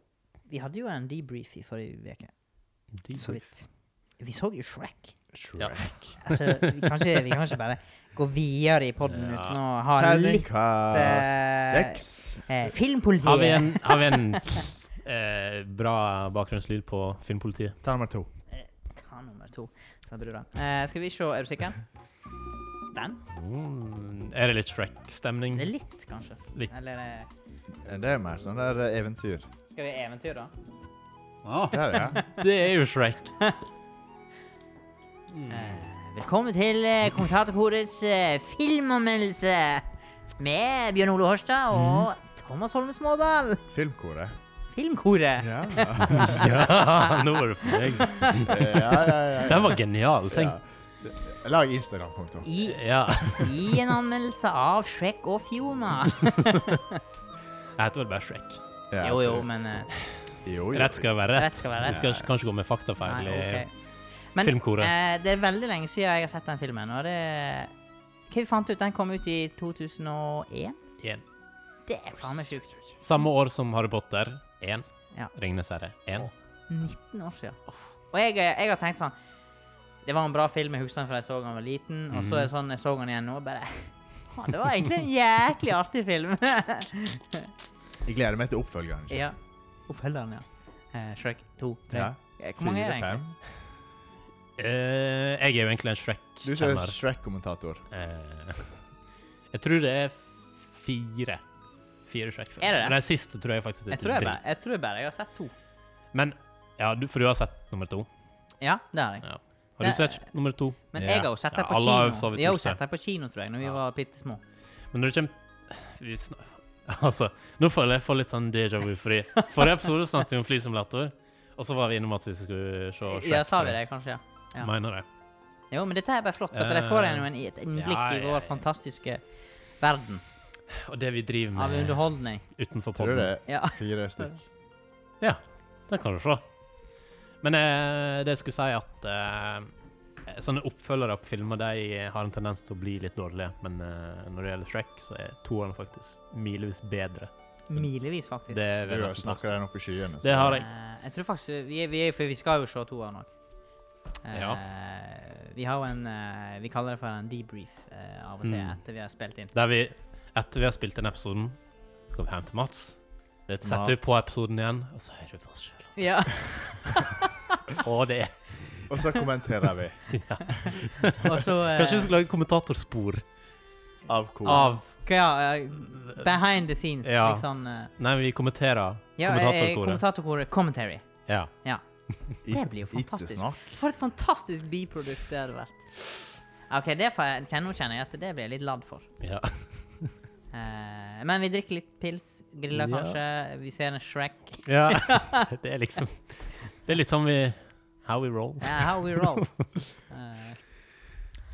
[SPEAKER 2] Vi hadde jo en debrief i forrige uke,
[SPEAKER 1] De-
[SPEAKER 2] så vidt. Vi så jo Shrek.
[SPEAKER 1] Ja.
[SPEAKER 2] Altså, vi kan ikke, vi kan ikke bare gå videre i poden
[SPEAKER 1] Ja.
[SPEAKER 2] uten å ha litt
[SPEAKER 3] Terningkast
[SPEAKER 2] eh,
[SPEAKER 3] seks.
[SPEAKER 2] eh,
[SPEAKER 1] Har vi
[SPEAKER 2] filmpoliti.
[SPEAKER 1] en, har vi en eh, bra bakgrunnslyd på Filmpolitiet?
[SPEAKER 3] Ta nummer to.
[SPEAKER 2] Ta nummer to, sa brura. Eh, skal vi se, er du sikker? Den?
[SPEAKER 1] Mm, er det litt Shrek-stemning?
[SPEAKER 2] Det er litt, kanskje.
[SPEAKER 1] Litt.
[SPEAKER 2] Eller eh,
[SPEAKER 3] Det er mer sånn der eh, eventyr.
[SPEAKER 2] skal vi eventyr, da?
[SPEAKER 3] Det er det, ja.
[SPEAKER 1] Det er jo Shrek. Mm.
[SPEAKER 2] Eh, velkommen til eh, kommentatorkorets eh, filmanmeldelse med Bjørn Ole Horstad
[SPEAKER 1] Mm.
[SPEAKER 2] og Thomas Holme Smådal.
[SPEAKER 3] Filmkoret.
[SPEAKER 2] Filmkoret.
[SPEAKER 3] Ja.
[SPEAKER 1] Ja, nå var det for meg.
[SPEAKER 3] ja, ja, ja, ja.
[SPEAKER 1] Den var genial. Tenk.
[SPEAKER 3] Lag Instagram-konto.
[SPEAKER 2] I,
[SPEAKER 1] Ja.
[SPEAKER 2] I en anmeldelse av Shrek og Fiona.
[SPEAKER 1] Jeg heter vel bare Shrek.
[SPEAKER 3] Ja.
[SPEAKER 2] Jo, jo, men eh,
[SPEAKER 3] Jo, jo.
[SPEAKER 1] Rett skal være
[SPEAKER 2] rett
[SPEAKER 1] rett.
[SPEAKER 2] skal være
[SPEAKER 1] Vi
[SPEAKER 2] rett.
[SPEAKER 1] skal ikke- kanskje gå med faktafeil.
[SPEAKER 2] Nei,
[SPEAKER 1] i-
[SPEAKER 2] ok. Men
[SPEAKER 1] Filmkoret.
[SPEAKER 2] eh, det er veldig lenge siden jeg har sett den filmen. Og det Hva vi fant ut? Den kom ut i 2001?
[SPEAKER 1] Igjen.
[SPEAKER 2] Det er faen meg sjukt.
[SPEAKER 1] Samme år som Harry Potter 1.
[SPEAKER 2] Ja.
[SPEAKER 1] Ringenes herre 1.
[SPEAKER 2] 19 år siden. Og jeg, eh, jeg har tenkt sånn Det var en bra film, jeg husker den fra jeg så den da jeg var liten. Og så
[SPEAKER 1] Mhm.
[SPEAKER 2] er det sånn jeg så den igjen nå, og bare Faen, det var egentlig en jæklig artig film.
[SPEAKER 3] Jeg gleder meg til oppfølgeren.
[SPEAKER 2] ja. Oppfølgeren, ja. Eh, Shrek 2, 3
[SPEAKER 3] Ja.
[SPEAKER 2] Hvor mange er det egentlig?
[SPEAKER 1] Eh, jeg er jo egentlig en
[SPEAKER 3] Du som
[SPEAKER 1] Shrek-kjenner.
[SPEAKER 3] Shrek-kommentator.
[SPEAKER 1] Eh, jeg tror det er fire. Fire Shrek-filmer.
[SPEAKER 2] Er det det?
[SPEAKER 1] Men Den siste tror jeg faktisk er
[SPEAKER 2] Jeg tror jeg,
[SPEAKER 1] dritt.
[SPEAKER 2] bare, jeg tror jeg bare jeg har sett to.
[SPEAKER 1] Men ja, du, for du har sett nummer to?
[SPEAKER 2] Ja, det har jeg.
[SPEAKER 1] Ja. Har du
[SPEAKER 2] Det-
[SPEAKER 1] sett nummer to?
[SPEAKER 2] Men
[SPEAKER 3] Ja.
[SPEAKER 2] jeg har jo sett det
[SPEAKER 1] Ja,
[SPEAKER 2] på
[SPEAKER 1] alle har jo så
[SPEAKER 2] kino.
[SPEAKER 1] vidt
[SPEAKER 2] Vi har jo
[SPEAKER 1] gjort det.
[SPEAKER 2] sett det på kino, tror jeg, når vi
[SPEAKER 1] Ja.
[SPEAKER 2] var bitte små.
[SPEAKER 1] Men når det kommer vi snak- Altså, nå føler jeg får litt sånn déjà vu. Fordi forrige episode snakket vi om flysimulator, og så var vi innom at vi skulle se Shrek.
[SPEAKER 2] Ja, sa
[SPEAKER 1] tror
[SPEAKER 2] vi
[SPEAKER 1] jeg.
[SPEAKER 2] det, kanskje? ja. ja.
[SPEAKER 1] Mener det.
[SPEAKER 2] Jo, men dette er bare flott, for at de får en, en, et innblikk
[SPEAKER 1] Ja,
[SPEAKER 2] i
[SPEAKER 1] ja, ja.
[SPEAKER 2] vår fantastiske verden
[SPEAKER 1] Og det vi driver
[SPEAKER 2] av
[SPEAKER 1] med
[SPEAKER 2] underholdning.
[SPEAKER 1] utenfor
[SPEAKER 3] Tror du
[SPEAKER 1] podden.
[SPEAKER 3] det
[SPEAKER 2] Ja.
[SPEAKER 3] er fire stykk?
[SPEAKER 1] Det kan du se. Men eh, det jeg skulle si, at eh, sånne oppfølgere på filmer de har en tendens til å bli litt dårlige. Men eh, når det gjelder Shrek, så er toeren faktisk milevis bedre.
[SPEAKER 2] Milevis, faktisk.
[SPEAKER 1] Det
[SPEAKER 3] Du
[SPEAKER 1] vil
[SPEAKER 3] har
[SPEAKER 1] jeg snakke
[SPEAKER 3] snakket den opp i skyene.
[SPEAKER 1] Det har jeg.
[SPEAKER 2] Eh, jeg tror faktisk vi, er- vi, er- For vi skal jo se to av nok. Eh,
[SPEAKER 1] Ja.
[SPEAKER 2] Vi har jo en eh, Vi kaller det for en debrief eh, av og til
[SPEAKER 1] Mm.
[SPEAKER 2] etter vi har spilt inn.
[SPEAKER 1] Der vi, etter vi har spilt den episoden, går vi hjem til Mats,
[SPEAKER 3] Det er
[SPEAKER 1] setter vi på episoden igjen, og så hører vi på oss sjøl.
[SPEAKER 2] Ja.
[SPEAKER 1] Og det
[SPEAKER 3] mat, Og så kommenterer vi.
[SPEAKER 2] Og så eh,
[SPEAKER 1] Kanskje vi skal lage kommentatorspor
[SPEAKER 3] Av kor.
[SPEAKER 1] av
[SPEAKER 2] hva, ja, eh, Behind the scenes.
[SPEAKER 1] Ja.
[SPEAKER 2] Litt sånn eh,
[SPEAKER 1] Nei, vi kommenterer
[SPEAKER 2] ja, eh,
[SPEAKER 1] kommentatorkoret.
[SPEAKER 2] kommentatorkoret. Commentary.
[SPEAKER 1] Ja.
[SPEAKER 2] Ja. Ah, Det blir jo fantastisk. For et fantastisk biprodukt det hadde vært. OK, det får jeg, kjenner, nå kjenner jeg at det blir jeg litt ladd for.
[SPEAKER 1] ja.
[SPEAKER 2] Eh, men vi drikker litt pils, griller
[SPEAKER 1] Ja.
[SPEAKER 2] kanskje, vi ser en Shrek.
[SPEAKER 1] ja. Det er liksom Det er litt sånn vi How we roll.
[SPEAKER 2] Ja, how we roll. Eh,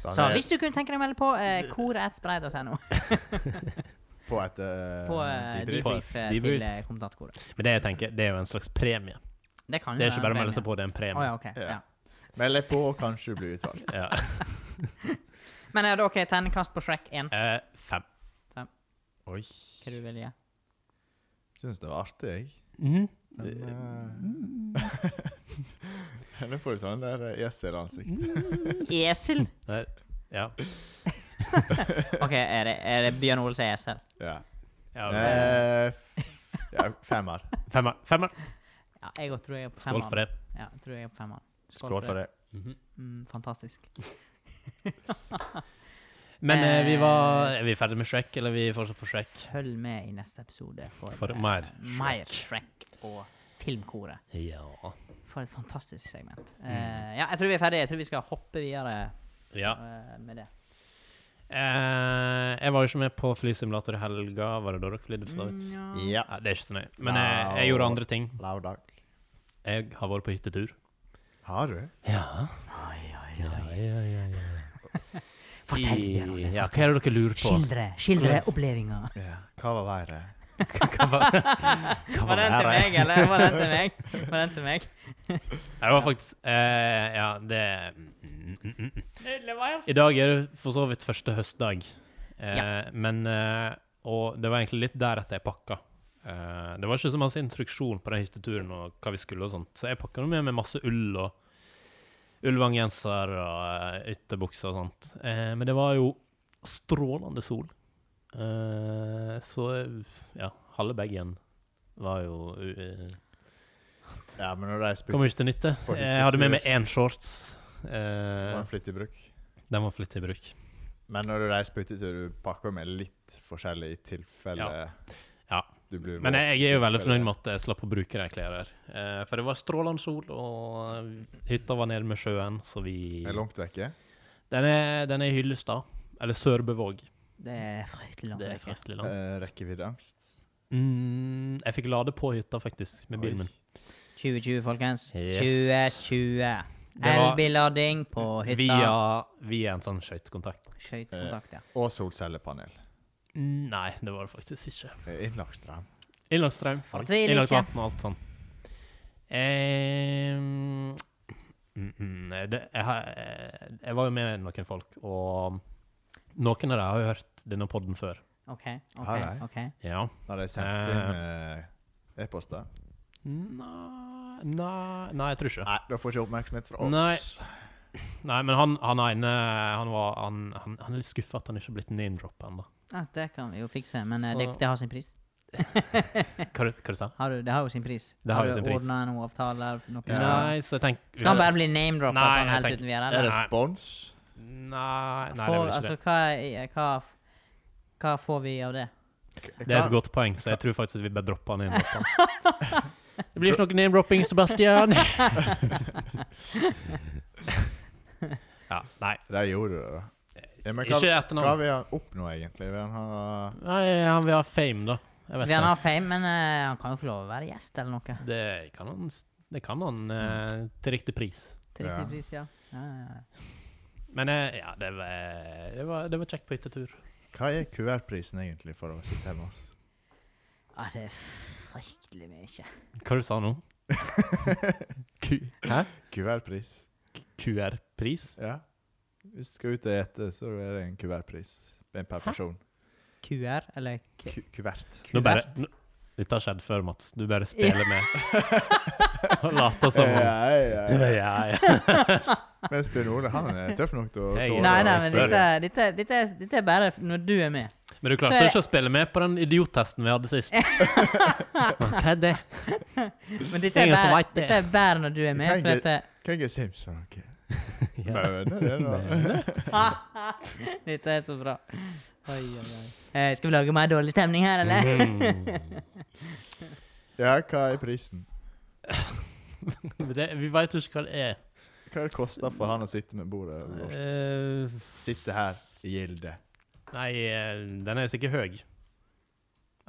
[SPEAKER 2] så hvis du kunne tenke deg å melde på, uh, koret.spreid.no
[SPEAKER 3] På et eh,
[SPEAKER 2] på uh,
[SPEAKER 3] debrief.
[SPEAKER 1] På
[SPEAKER 2] debrief eh,
[SPEAKER 1] debrief.
[SPEAKER 2] til uh, kommentatorkoret.
[SPEAKER 1] Men det jeg tenker, det er jo en slags premie.
[SPEAKER 2] Det kan jo
[SPEAKER 1] Det er ikke
[SPEAKER 2] være
[SPEAKER 1] bare å
[SPEAKER 2] en
[SPEAKER 1] melde seg
[SPEAKER 2] premie.
[SPEAKER 1] på, det er en
[SPEAKER 2] Å
[SPEAKER 1] premie.
[SPEAKER 2] ja, ok.
[SPEAKER 3] Ja.
[SPEAKER 2] Ja.
[SPEAKER 3] Meld deg på, kanskje du blir utvalgt.
[SPEAKER 1] Ja.
[SPEAKER 2] Men er det OK, terningkast på Shrek 1.
[SPEAKER 1] Eh, fem.
[SPEAKER 3] Oi.
[SPEAKER 2] Hva du vil gi?
[SPEAKER 3] Syns det var artig, jeg.
[SPEAKER 1] Mhm.
[SPEAKER 3] Men, eh, Nå får du sånn der eh, esel-ansikt.
[SPEAKER 2] Esel?
[SPEAKER 1] Der. Ja.
[SPEAKER 2] OK, er det, er det Bjørn Olsen esel?
[SPEAKER 3] Ja.
[SPEAKER 1] ja men-
[SPEAKER 3] Eh, f- ja, femmer.
[SPEAKER 1] femmer. femmer.
[SPEAKER 2] Ja, jeg òg tror jeg er på
[SPEAKER 1] Skål for det.
[SPEAKER 2] Ja, jeg tror jeg er på femmeren.
[SPEAKER 3] Skål for det.
[SPEAKER 1] Mhm.
[SPEAKER 2] Mm, fantastisk.
[SPEAKER 1] Men eh, vi
[SPEAKER 2] Eh,
[SPEAKER 1] var Er vi ferdig med Shrek, eller er vi fortsatt på Shrek?
[SPEAKER 2] Følg med i neste episode for,
[SPEAKER 1] For
[SPEAKER 2] eh,
[SPEAKER 1] mer
[SPEAKER 2] mer Shrek og Filmkoret.
[SPEAKER 1] Ja.
[SPEAKER 2] For et fantastisk segment. Eh, ja, jeg tror vi er ferdige. Jeg tror vi skal hoppe videre
[SPEAKER 1] Mm. ja.
[SPEAKER 2] eh, med det.
[SPEAKER 1] Eh, jeg var jo ikke med på flysimulator i helga. Var det da dere flydde? for så vidt?
[SPEAKER 2] Mm,
[SPEAKER 3] Ja.
[SPEAKER 1] Ja, det er ikke så nøye. Men eh, jeg gjorde andre ting.
[SPEAKER 3] Laudag.
[SPEAKER 1] Jeg har vært på hyttetur.
[SPEAKER 3] Har du?
[SPEAKER 1] Ja.
[SPEAKER 2] Fortell mer om det.
[SPEAKER 1] Ja, hva er det dere lurer på?
[SPEAKER 2] Skildre, skildre opplevelser.
[SPEAKER 3] Ja. Hva var været?
[SPEAKER 1] Hva var, hva
[SPEAKER 2] Var den til
[SPEAKER 1] her, eh?
[SPEAKER 2] meg, eller? Var den til meg? Var den til meg?
[SPEAKER 1] Det var faktisk eh, Ja, det mm, mm, mm. I dag er det for så vidt første høstdag. Eh, Men eh, Og det var egentlig litt deretter jeg pakka. Eh, det var ikke så masse instruksjon på den hytteturen og hva vi skulle og sånt, så jeg pakka med meg masse ull og ullvanggenser og eh, ytterbukser og sånt. Eh, men det var jo strålende sol. Eh, så ja, halve bagen var jo eh,
[SPEAKER 3] Ja, men når de spytter
[SPEAKER 1] Kommer ikke til nytte.
[SPEAKER 3] Får du ikke
[SPEAKER 1] Jeg hadde med meg
[SPEAKER 3] tur.
[SPEAKER 1] én shorts.
[SPEAKER 3] var
[SPEAKER 1] Eh,
[SPEAKER 3] en flittig bruk.
[SPEAKER 1] den var flittig i bruk.
[SPEAKER 3] Men når du reiser på hyttetur, du pakker med litt forskjellig i tilfelle
[SPEAKER 1] Ja.
[SPEAKER 3] du blir
[SPEAKER 1] Men
[SPEAKER 3] våt,
[SPEAKER 1] jeg, jeg er jo veldig
[SPEAKER 3] tilfelle-
[SPEAKER 1] fornøyd med at jeg slapp å bruke de klærne. Eh, for det var strålende sol, og hytta var nede med sjøen, så vi
[SPEAKER 3] Er det langt eh. vekke?
[SPEAKER 1] Den er, den er i Hyllestad. Eller Sørbøvåg.
[SPEAKER 2] Det er fryktelig langt
[SPEAKER 1] Det er
[SPEAKER 2] vekk.
[SPEAKER 1] fryktelig langt.
[SPEAKER 3] Eh, rekkeviddeangst?
[SPEAKER 1] Mm, jeg fikk lade på hytta, faktisk, med bilen
[SPEAKER 3] Oi.
[SPEAKER 1] min.
[SPEAKER 2] 2020, folkens.
[SPEAKER 1] Yes.
[SPEAKER 2] 2020.
[SPEAKER 1] Det var-
[SPEAKER 2] Elbillading på hytta.
[SPEAKER 1] Via, via en sånn skøytekontakt.
[SPEAKER 2] Skøytekontakt, ja.
[SPEAKER 3] Og solcellepanel.
[SPEAKER 1] Mm, Nei, det var det faktisk ikke.
[SPEAKER 3] Eh, Innlagt strøm.
[SPEAKER 1] Innlagt strøm.
[SPEAKER 2] Fortvil ikke.
[SPEAKER 1] Innlagt vann og alt sånn. Ehm, mm, mm, det, jeg, har- eh, jeg var jo med noen folk, og noen av dem har jo hørt denne podden før.
[SPEAKER 2] OK.
[SPEAKER 3] Har
[SPEAKER 2] ok,
[SPEAKER 3] jeg?
[SPEAKER 2] ok.
[SPEAKER 1] Ja.
[SPEAKER 3] Har de sendt inn eh, e-poster?
[SPEAKER 1] Nei, nei, jeg tror ikke.
[SPEAKER 3] Nei, da får ikke oppmerksomhet fra oss.
[SPEAKER 1] Nei. Nei, men han, han ene han, var, han, han, han er litt skuffa at han ikke er blitt name-droppa ennå.
[SPEAKER 2] Ja, det kan vi jo fikse, men eh,
[SPEAKER 1] Så-
[SPEAKER 2] det, det har sin pris.
[SPEAKER 1] Hva, du- hva du sa du?
[SPEAKER 2] Har du, det har jo sin pris.
[SPEAKER 1] Det har jo sin
[SPEAKER 2] du
[SPEAKER 1] pris.
[SPEAKER 2] ordna noen avtaler? Noe?
[SPEAKER 1] Nei, så jeg tenker
[SPEAKER 2] Skal han bare bli name-droppa
[SPEAKER 1] Nei,
[SPEAKER 2] sånn
[SPEAKER 1] jeg
[SPEAKER 2] helt
[SPEAKER 1] tenker-
[SPEAKER 2] uten vi er
[SPEAKER 3] Er
[SPEAKER 2] der?
[SPEAKER 3] det
[SPEAKER 1] Nei.
[SPEAKER 3] spons?
[SPEAKER 1] Nei, nei det er vel
[SPEAKER 2] Får-
[SPEAKER 1] ikke
[SPEAKER 2] altså,
[SPEAKER 1] det.
[SPEAKER 2] hva, er- hva, f- hva får vi av det?
[SPEAKER 1] Det er et godt poeng, så jeg tror faktisk at vi bare dropper han name-droppa. Det blir ikke noe name-dropping, Sebastian. ja, nei.
[SPEAKER 3] Det gjorde du, da. Ja, men hva,
[SPEAKER 1] Ikke
[SPEAKER 3] hva
[SPEAKER 1] etternavn.
[SPEAKER 3] vil han oppnå, egentlig? Vil han ha
[SPEAKER 1] Nei, han vil ha fame, da. Jeg vet
[SPEAKER 2] Vi han
[SPEAKER 1] ikke.
[SPEAKER 2] har fame, men eh, han kan jo få lov å være gjest eller noe.
[SPEAKER 1] Det kan han, det kan han eh, til riktig pris.
[SPEAKER 2] Til
[SPEAKER 3] Ja.
[SPEAKER 2] riktig pris, ja. Ja, ja, ja.
[SPEAKER 1] Men eh, ja, det var, det var, det var kjekt på hyttetur.
[SPEAKER 3] Hva er kuvertprisen, egentlig, for å sitte her med oss?
[SPEAKER 2] Ja, det er fryktelig mye.
[SPEAKER 1] Hva du sa nå?
[SPEAKER 3] Hæ? Kuvertpris.
[SPEAKER 1] QR-pris?
[SPEAKER 3] Ja. Hvis du skal ut og ete, så er det en kuvertpris. En per person.
[SPEAKER 2] QR, eller k
[SPEAKER 3] Ku kuvert.
[SPEAKER 1] Nå bare,
[SPEAKER 2] kuvert?
[SPEAKER 1] nå, dette har skjedd før, Mats. Du bare spiller med. Og later som om.
[SPEAKER 3] Ja, ja,
[SPEAKER 1] Ja,
[SPEAKER 3] ja.
[SPEAKER 1] ja,
[SPEAKER 3] Men Bjørn Ole, han er tøff nok til å
[SPEAKER 1] Jeg-
[SPEAKER 3] tåle
[SPEAKER 2] Nei,
[SPEAKER 1] Nå
[SPEAKER 2] nei,
[SPEAKER 3] å
[SPEAKER 2] men
[SPEAKER 1] spør
[SPEAKER 3] spørre.
[SPEAKER 2] dette, dette, dette, er- dette er bare når du er med.
[SPEAKER 1] Men du
[SPEAKER 2] Så er
[SPEAKER 1] klarte
[SPEAKER 2] det-
[SPEAKER 1] ikke å spille med på den idiottesten vi hadde sist. Hva er det?
[SPEAKER 2] Men dette er
[SPEAKER 1] Ingen får
[SPEAKER 2] bare,
[SPEAKER 1] vite det.
[SPEAKER 2] dette er bare når du er med,
[SPEAKER 3] Kan
[SPEAKER 2] for
[SPEAKER 3] ikke-
[SPEAKER 2] dette
[SPEAKER 3] Kan jeg simse noe?
[SPEAKER 1] Ja.
[SPEAKER 3] Møne, det da.
[SPEAKER 2] Dette er så bra. Oi, oi, oi. Eh, skal vi lage mer dårlig stemning her, eller?
[SPEAKER 1] Mm.
[SPEAKER 3] Ja, hva er prisen?
[SPEAKER 1] Men det, vi veit jo ikke hva det er.
[SPEAKER 3] Hva det koster for han å sitte med bordet vårt?
[SPEAKER 1] Eh,
[SPEAKER 3] Sitte her i gilde.
[SPEAKER 1] nei, eh, den er sikkert høy.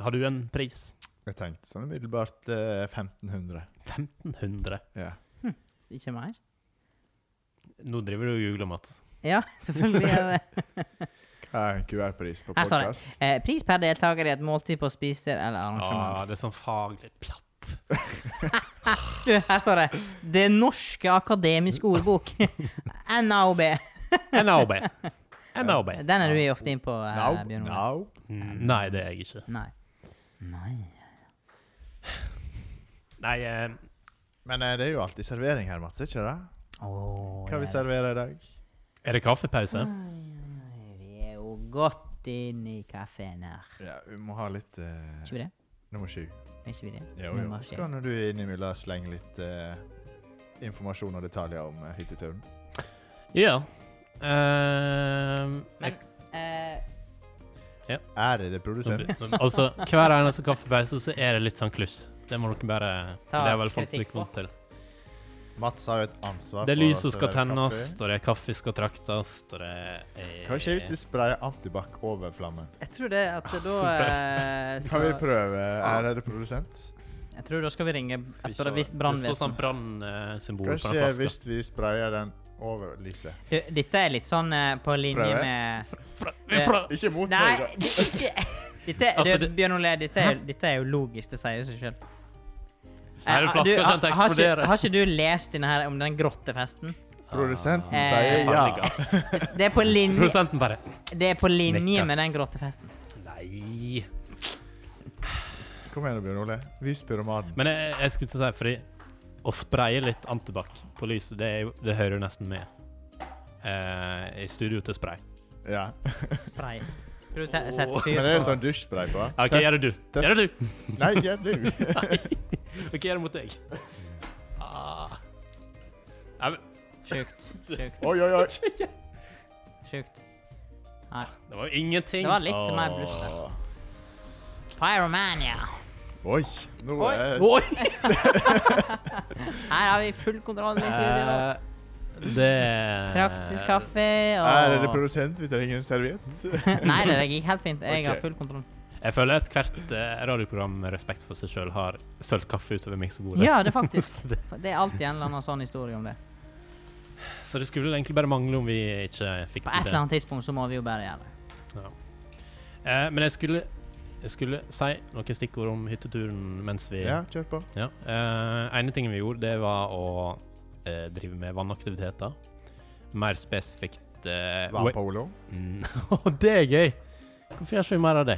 [SPEAKER 1] Har du en pris?
[SPEAKER 3] Jeg tenkte sånn umiddelbart eh, 1500.
[SPEAKER 1] 1500.
[SPEAKER 3] Ja.
[SPEAKER 2] Ikke mer?
[SPEAKER 1] Nå driver du og jugler, Mats.
[SPEAKER 2] Ja, selvfølgelig er det det.
[SPEAKER 3] Hva er en kuvertpris på
[SPEAKER 2] Ah, sorry.
[SPEAKER 3] podkast?
[SPEAKER 2] Eh, pris per deltaker i et måltid på spiser eller
[SPEAKER 1] Ja,
[SPEAKER 2] arrangement.
[SPEAKER 1] det er sånn faglig platt.
[SPEAKER 2] Du, her står det. Det norske akademiske ordbok. NAOB.
[SPEAKER 1] NAOB. NAOB.
[SPEAKER 2] Den er du ofte inne på, eh,
[SPEAKER 3] Now,
[SPEAKER 2] Bjørn Ole.
[SPEAKER 3] now.
[SPEAKER 1] Nei, det er jeg ikke.
[SPEAKER 2] Nei. Nei.
[SPEAKER 1] Nei, eh,
[SPEAKER 3] Men eh, det er jo alltid servering her, Mats. Ikke det?
[SPEAKER 2] Åh,
[SPEAKER 3] Hva vi
[SPEAKER 2] jeg-
[SPEAKER 3] serverer i dag?
[SPEAKER 1] er det kaffepause?
[SPEAKER 2] Vi er jo godt inne i kaffen her.
[SPEAKER 3] Ja, vi må ha litt eh,
[SPEAKER 2] Ikke vi det?
[SPEAKER 3] nummer sju.
[SPEAKER 2] Er ikke vi det?
[SPEAKER 3] Jo,
[SPEAKER 2] Nummer
[SPEAKER 3] jo.
[SPEAKER 2] sju.
[SPEAKER 3] Skal når du innimellom slenge litt eh, informasjon og detaljer om eh, hytteturen.
[SPEAKER 1] Ja. Eh,
[SPEAKER 2] Men eh,
[SPEAKER 3] Ærede produsent.
[SPEAKER 1] Altså, hver eneste kaffepause så er det litt sånn kluss. Det må dere bare
[SPEAKER 2] Ta
[SPEAKER 1] Det er vel folk
[SPEAKER 2] kritikk
[SPEAKER 1] litt vant til.
[SPEAKER 3] Mats har jo et ansvar
[SPEAKER 1] Det er
[SPEAKER 3] for å
[SPEAKER 1] lys som skal
[SPEAKER 3] servere
[SPEAKER 1] tennes,
[SPEAKER 3] eh, kaffe.
[SPEAKER 1] og det er kaffe som skal traktes, og det er
[SPEAKER 3] Hva skjer hvis du sprayer antibac over flammen?
[SPEAKER 2] jeg tror det at da eh,
[SPEAKER 3] Kan vi
[SPEAKER 2] skal,
[SPEAKER 3] prøve, ærede produsent?
[SPEAKER 2] Jeg tror da skal vi ringe etter det hvis
[SPEAKER 1] Det står sånn
[SPEAKER 2] brannvesen
[SPEAKER 1] brannsymbol
[SPEAKER 3] Hva
[SPEAKER 1] på den
[SPEAKER 3] skjer
[SPEAKER 1] flaska.
[SPEAKER 3] hvis vi sprayer den over lyset?
[SPEAKER 2] Du, Dette er litt sånn eh, på linje
[SPEAKER 3] Prøver.
[SPEAKER 2] med
[SPEAKER 1] Fra, fra,
[SPEAKER 3] Ikke mot
[SPEAKER 2] Nei,
[SPEAKER 3] meg,
[SPEAKER 2] det er ikke Dette,
[SPEAKER 1] Altså,
[SPEAKER 2] det,
[SPEAKER 1] det-
[SPEAKER 2] Bjørn Ole, dette er, dette er jo logisk. Det sier seg sjøl.
[SPEAKER 1] Her er flaska kjent å
[SPEAKER 2] har, ikke-
[SPEAKER 1] eksplodere.
[SPEAKER 2] har ikke du lest denne her om den grottefesten?
[SPEAKER 3] da. Produsenten
[SPEAKER 2] Ah. Eh,
[SPEAKER 3] sier ja.
[SPEAKER 1] Farlig, ass.
[SPEAKER 2] Det er på linje,
[SPEAKER 1] altså. Produsenten bare
[SPEAKER 2] det er på linje
[SPEAKER 1] Nikker.
[SPEAKER 2] med den grottefesten.
[SPEAKER 1] Nei.
[SPEAKER 3] Kom igjen, Bjørn Ole. Vis pyromaden.
[SPEAKER 1] Men jeg, jeg skulle til å si, fordi å spraye litt antibac på lyset, det, er jo, det hører jo nesten med eh, i studio til spray.
[SPEAKER 3] Ja.
[SPEAKER 2] Spray. Skal du te
[SPEAKER 1] Åh.
[SPEAKER 2] sette fyr
[SPEAKER 3] Men det er
[SPEAKER 2] på
[SPEAKER 3] sånn dusjspray på.
[SPEAKER 1] OK,
[SPEAKER 3] Test-
[SPEAKER 1] gjør det du. Gjør det du.
[SPEAKER 3] Nei, gjør du.
[SPEAKER 1] OK, gjør det mot deg. Ah. Nei, men,
[SPEAKER 2] Sjukt. Sjukt.
[SPEAKER 3] Oi, oi, oi.
[SPEAKER 2] Sjukt. Nei.
[SPEAKER 1] det var jo ingenting.
[SPEAKER 2] Det var litt mer bluss der.
[SPEAKER 3] Åh.
[SPEAKER 2] Pyromania.
[SPEAKER 3] Oi. Nå
[SPEAKER 2] Oi.
[SPEAKER 3] er
[SPEAKER 1] Oi!
[SPEAKER 2] Her har vi full kontroll i studio.
[SPEAKER 1] Eh, det
[SPEAKER 2] Traktisk kaffe
[SPEAKER 3] Ærede
[SPEAKER 2] og
[SPEAKER 3] produsent, vi trenger en serviett.
[SPEAKER 2] Nei, det gikk helt fint. Jeg har
[SPEAKER 3] Ok.
[SPEAKER 2] full kontroll.
[SPEAKER 1] Jeg føler at hvert eh, radioprogram med respekt for seg sjøl har sølt kaffe utover miksebordet.
[SPEAKER 2] Ja, det er faktisk. Det er alltid en eller annen sånn historie om det.
[SPEAKER 1] Så det skulle egentlig bare mangle om vi ikke fikk
[SPEAKER 2] På
[SPEAKER 1] til
[SPEAKER 2] et eller annet tidspunkt så må vi jo bare gjøre det.
[SPEAKER 1] Eh, men jeg skulle, jeg skulle si noen stikkord om hytteturen mens vi
[SPEAKER 3] Ja, kjør på.
[SPEAKER 1] Ja. Eh, ene tingen vi gjorde, det var å eh, drive med vannaktiviteter. Mer spesifikt eh, wa-
[SPEAKER 3] Vannpolo.
[SPEAKER 1] Mm, det er gøy! Hvorfor gjør ikke vi mer av det?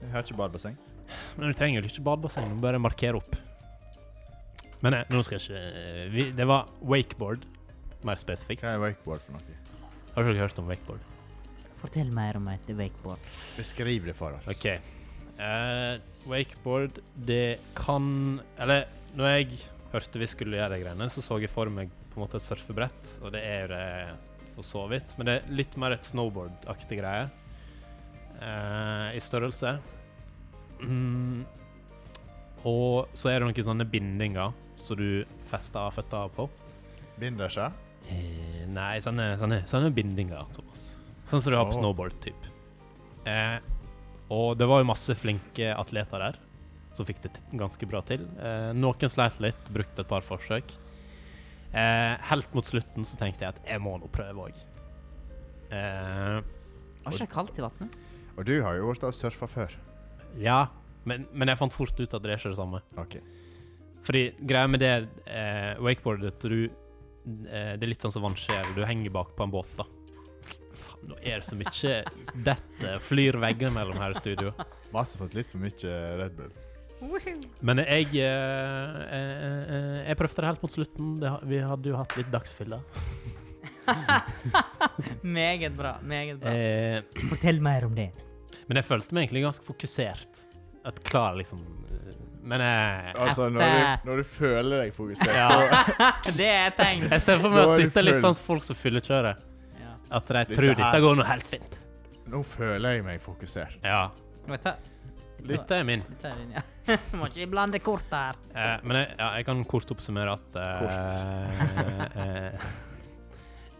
[SPEAKER 3] Jeg har ikke badebasseng.
[SPEAKER 1] Men du trenger jo ikke badebasseng, du må bare markere opp. Men eh, nå skal jeg ikke vi, Det var wakeboard, mer spesifikt.
[SPEAKER 3] Hva er wakeboard for noe?
[SPEAKER 1] Har ikke dere hørt om wakeboard?
[SPEAKER 2] Fortell mer om et wakeboard.
[SPEAKER 3] Beskriv det for oss.
[SPEAKER 1] OK. Eh, wakeboard, det kan Eller når jeg hørte vi skulle gjøre de greiene, så så jeg for meg på en måte et surfebrett, og det er jo det for så vidt. Men det er litt mer et snowboard-aktig greie eh, i størrelse. Mm. Og så er det noen sånne bindinger som du fester føttene på.
[SPEAKER 3] Binder seg.
[SPEAKER 1] Eh, Nei, sånne, sånne, sånne bindinger, Thomas. Sånn som du har på
[SPEAKER 3] Åh.
[SPEAKER 1] snowboard, typ. Eh, og det var jo masse flinke atleter der, som fikk det t- ganske bra til. Eh, noen sleit litt, brukte et par forsøk. Eh, helt mot slutten så tenkte jeg at jeg må nå prøve òg. Eh,
[SPEAKER 2] Var ikke det kaldt i vannet?
[SPEAKER 3] Og du har jo vært og surfa før.
[SPEAKER 1] ja, men, men jeg fant fort ut at det er ikke det samme.
[SPEAKER 3] OK.
[SPEAKER 1] Fordi greia med det eh, wakeboardet at du eh, Det er litt sånn som vannskjer. Du henger bak på en båt, da. Faen, nå er det så mye Dette flyr veggene mellom her i studio.
[SPEAKER 3] Mats har fått litt for mye Red Bull.
[SPEAKER 1] Men jeg eh, eh, eh, Jeg prøvde det helt mot slutten. Det, ha- vi hadde jo hatt litt dagsfylla.
[SPEAKER 2] Meget bra. Meget bra.
[SPEAKER 1] Eh,
[SPEAKER 2] Fortell mer om det.
[SPEAKER 1] men jeg følte meg egentlig ganske fokusert. At klar, liksom eh, Men jeg
[SPEAKER 3] Altså, når
[SPEAKER 2] Etter-
[SPEAKER 3] du, når du føler deg fokusert
[SPEAKER 1] Ja.
[SPEAKER 2] Det er et tegn.
[SPEAKER 1] Jeg ser for meg
[SPEAKER 3] Nå er
[SPEAKER 1] at
[SPEAKER 3] du
[SPEAKER 1] dette er litt
[SPEAKER 3] full.
[SPEAKER 1] sånn folk som fyllekjører.
[SPEAKER 2] Ja.
[SPEAKER 1] At de
[SPEAKER 3] Dette
[SPEAKER 1] tror
[SPEAKER 3] her-
[SPEAKER 1] dette går nå helt fint.
[SPEAKER 3] Nå føler jeg meg fokusert.
[SPEAKER 1] Ja.
[SPEAKER 2] Vet du,
[SPEAKER 1] Dette er min.
[SPEAKER 2] dette er din, ja. Må ikke blande kort her.
[SPEAKER 1] Eh, men jeg, ja, jeg kan kort oppsummere at
[SPEAKER 3] Kort.
[SPEAKER 1] eh, eh,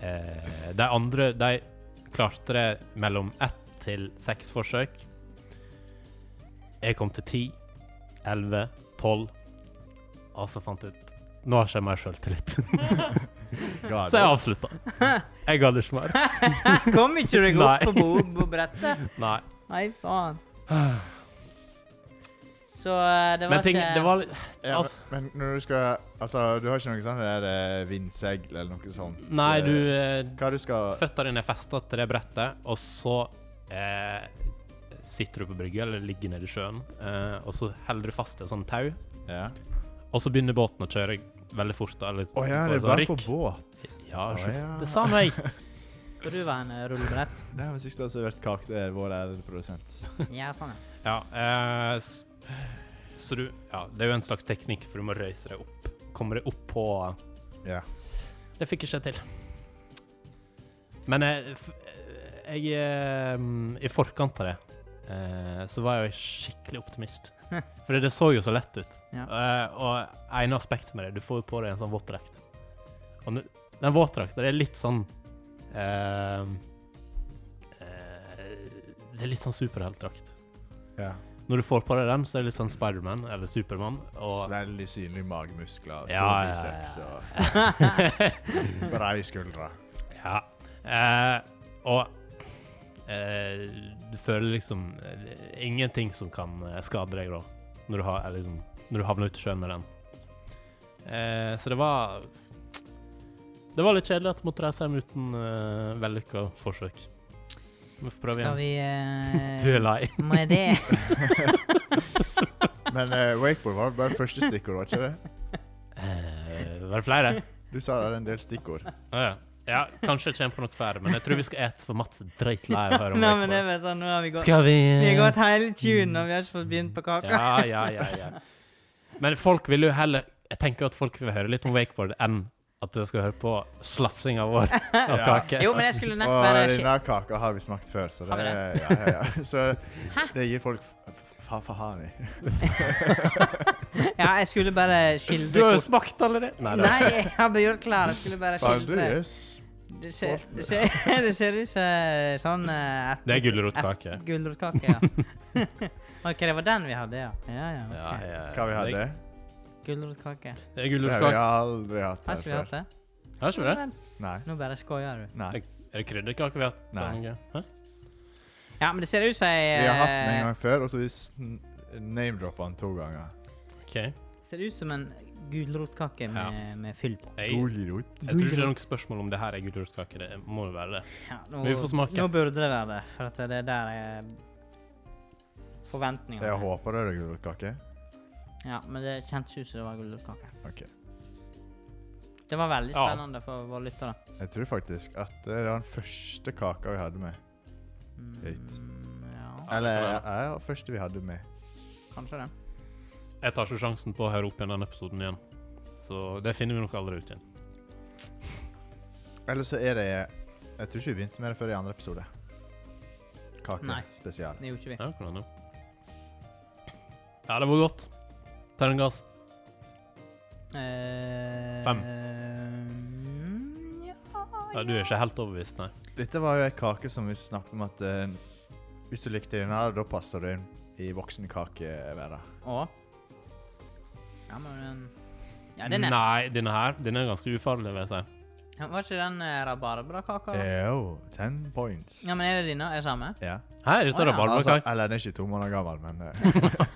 [SPEAKER 1] eh, De andre de klarte det mellom ett til seks forsøk. Jeg kom til ti, elleve, tolv, og så fant jeg ut Nå har ikke jeg mer sjøltillit.
[SPEAKER 3] Ga
[SPEAKER 1] Så jeg
[SPEAKER 3] det.
[SPEAKER 1] avslutta. Jeg gadd ikke mer.
[SPEAKER 2] Kom ikke du godt
[SPEAKER 1] Nei.
[SPEAKER 2] på bo på brettet?
[SPEAKER 1] Nei.
[SPEAKER 2] Nei, faen. Så eh, det var
[SPEAKER 1] Men ting,
[SPEAKER 2] ikke
[SPEAKER 1] det var litt
[SPEAKER 3] Ja,
[SPEAKER 1] Altså-
[SPEAKER 3] men, men når du skal Altså, du har ikke noe sånn der eh, vindsegl eller noe sånt?
[SPEAKER 1] Nei,
[SPEAKER 3] eh,
[SPEAKER 1] du eh,
[SPEAKER 3] Hva du skal
[SPEAKER 1] Føttene dine er festa til det brettet, og så eh, sitter du på brygga eller ligger nede i sjøen, eh, og så holder du fast i et sånt tau,
[SPEAKER 3] Ja.
[SPEAKER 1] og så begynner båten å kjøre veldig fort. da, Eller,
[SPEAKER 3] Å ja, det
[SPEAKER 1] du får et
[SPEAKER 3] er
[SPEAKER 1] sånt
[SPEAKER 3] bare på
[SPEAKER 1] rykk.
[SPEAKER 3] båt.
[SPEAKER 1] Ja,
[SPEAKER 3] Å
[SPEAKER 1] sjef,
[SPEAKER 3] ja.
[SPEAKER 1] det sa han meg.
[SPEAKER 2] Skal du være en eh, rullebrett?
[SPEAKER 3] Det er vel siste som har vært kake, det er vår ærede produsent.
[SPEAKER 2] Ja, sånn, ja.
[SPEAKER 1] Ja, eh, s- så du Ja, det er jo en slags teknikk, for du må røyse deg opp. Kommer deg opp på
[SPEAKER 3] Ja.
[SPEAKER 1] Det fikk ikke jeg til. Men jeg, f- jeg eh, I forkant av det eh, så var jeg jo skikkelig optimist. For det så jo så lett ut.
[SPEAKER 2] Ja.
[SPEAKER 1] Eh, Og ene aspektet med det, du får jo på deg en sånn våtdrakt. Og nu- den våtdrakta, det er litt sånn eh, eh, Det er litt sånn superheltdrakt.
[SPEAKER 3] ja.
[SPEAKER 1] Når du får på deg den, så er det litt sånn Spiderman eller Supermann.
[SPEAKER 3] Og
[SPEAKER 1] Og
[SPEAKER 3] veldig synlige magemuskler, stor
[SPEAKER 1] Ja, ja,
[SPEAKER 3] biceps
[SPEAKER 1] ja,
[SPEAKER 3] og brei skuldre.
[SPEAKER 1] Ja. Eh, og eh, du føler liksom eh, ingenting som kan eh, skade deg, da. Når du, har, eller liksom, når du havner ute i sjøen med den. Eh, så det var Det var litt kjedelig at jeg måtte reise hjem uten eh, vellykka forsøk. Vi får prøve
[SPEAKER 2] Skal
[SPEAKER 1] igjen.
[SPEAKER 2] vi eh,
[SPEAKER 1] Du er lei.
[SPEAKER 2] Må jeg det?
[SPEAKER 3] Men eh, wakeboard var bare første stikkord, var ikke det?
[SPEAKER 1] Eh, var det flere?
[SPEAKER 3] Du sa det er en del stikkord.
[SPEAKER 1] Å ja. ja, kanskje jeg kommer på noe flere, men jeg tror vi skal ete, for Mats er dritlei av å høre om
[SPEAKER 2] Nei, men det er
[SPEAKER 1] wakeboard.
[SPEAKER 2] bare sånn, nå har vi eh, gått
[SPEAKER 1] Skal vi
[SPEAKER 2] Vi har gått hele turen, og vi har ikke fått begynt på kaka.
[SPEAKER 1] Ja, ja, ja, ja. Men folk vil jo heller Jeg tenker jo at folk vil høre litt om wakeboard enn at du skal høre på slafsing av vår av
[SPEAKER 3] Ja.
[SPEAKER 1] kake.
[SPEAKER 2] Jo, men jeg skulle nett
[SPEAKER 3] Og
[SPEAKER 2] bare
[SPEAKER 3] denne kaka har vi smakt før, så
[SPEAKER 2] Har vi
[SPEAKER 3] det, ja, ja, ja. så det gir folk fa-faen i.
[SPEAKER 2] Ja, jeg skulle bare
[SPEAKER 1] Du
[SPEAKER 2] skildre
[SPEAKER 1] har jo
[SPEAKER 2] kort.
[SPEAKER 1] smakt allerede! Nei, det
[SPEAKER 2] Nei, jeg har bare gjort klar. Jeg skulle bare
[SPEAKER 3] Faen, du
[SPEAKER 2] skildre.
[SPEAKER 3] er s-
[SPEAKER 2] Det ser, det ser, det ser ut som sånn eh,
[SPEAKER 1] det er gulrotkake.
[SPEAKER 2] ep- Gulrotkake, ja. OK, det var den vi hadde, ja. Ja, ja. ok.
[SPEAKER 1] Ja, ja.
[SPEAKER 3] Hva vi hadde?
[SPEAKER 2] Gulrotkake.
[SPEAKER 1] Det er
[SPEAKER 3] Det har vi
[SPEAKER 1] gulrotkake.
[SPEAKER 3] aldri hatt
[SPEAKER 2] Har
[SPEAKER 3] her
[SPEAKER 2] ikke vi hatt
[SPEAKER 3] før.
[SPEAKER 2] det?
[SPEAKER 1] Har ikke vi det?
[SPEAKER 2] Vel,
[SPEAKER 3] Nei.
[SPEAKER 2] Nå bare skoier du.
[SPEAKER 3] Nei.
[SPEAKER 1] Er det krydderkake vi har hatt?
[SPEAKER 3] Nei.
[SPEAKER 1] Dange? Hæ?
[SPEAKER 2] Ja, men det ser ut som ei
[SPEAKER 3] Vi har hatt den en
[SPEAKER 2] eh,
[SPEAKER 3] gang før, og så vi sn- name-droppa den to ganger.
[SPEAKER 1] OK. Jeg,
[SPEAKER 2] Ser ut som en gulrotkake med, med fyll på.
[SPEAKER 1] jeg
[SPEAKER 3] Gulrot.
[SPEAKER 1] tror ikke det er noe spørsmål om det her er gulrotkake. Det må jo være det.
[SPEAKER 2] Ja, nå,
[SPEAKER 1] Vi får smake.
[SPEAKER 2] Nå burde det være det, for at det er der jeg Forventningene.
[SPEAKER 3] Jeg håper det er gulrotkake.
[SPEAKER 2] Ja, men det kjentes ut som det var gulrotkake.
[SPEAKER 3] Ok.
[SPEAKER 2] Det var veldig
[SPEAKER 1] Ja.
[SPEAKER 2] spennende for våre lyttere.
[SPEAKER 3] Jeg tror faktisk at det var den første kaka vi hadde med. Greit.
[SPEAKER 2] Mm, ja,
[SPEAKER 3] Eller
[SPEAKER 1] det kan
[SPEAKER 3] ja,
[SPEAKER 1] være.
[SPEAKER 3] ja, første vi hadde med.
[SPEAKER 2] kanskje det.
[SPEAKER 1] Jeg tar ikke sjansen på å høre opp igjen den episoden igjen. Så det finner vi nok aldri ut igjen.
[SPEAKER 3] Eller så er det Jeg tror ikke vi begynte med det før i andre episode. Kake
[SPEAKER 2] Nei.
[SPEAKER 3] spesial.
[SPEAKER 2] Det gjorde ikke vi.
[SPEAKER 1] Ja, hvordan da? Ja, det var godt. Terningkast
[SPEAKER 2] Eh,
[SPEAKER 1] Fem.
[SPEAKER 2] mm, Ja,
[SPEAKER 1] Ja, du er ikke helt overbevist, nei.
[SPEAKER 3] Dette var jo ei kake som vi snakket om at eh, hvis du likte den her, da passer du inn i voksenkakeverdenen.
[SPEAKER 2] Og Ja, men Ja, det er nesten
[SPEAKER 1] Nei, denne her den er ganske ufarlig, vil jeg si.
[SPEAKER 2] Var ikke den eh, rabarbrakaka?
[SPEAKER 1] Eh.
[SPEAKER 2] da?
[SPEAKER 3] Jo, ten points.
[SPEAKER 2] Ja, men er det dine? Er det samme?
[SPEAKER 3] Ja.
[SPEAKER 1] Hæ, dette
[SPEAKER 2] Å,
[SPEAKER 3] Altså,
[SPEAKER 1] er
[SPEAKER 2] ja.
[SPEAKER 1] rabarbrakake.
[SPEAKER 3] eller den er ikke to måneder gammel, men eh,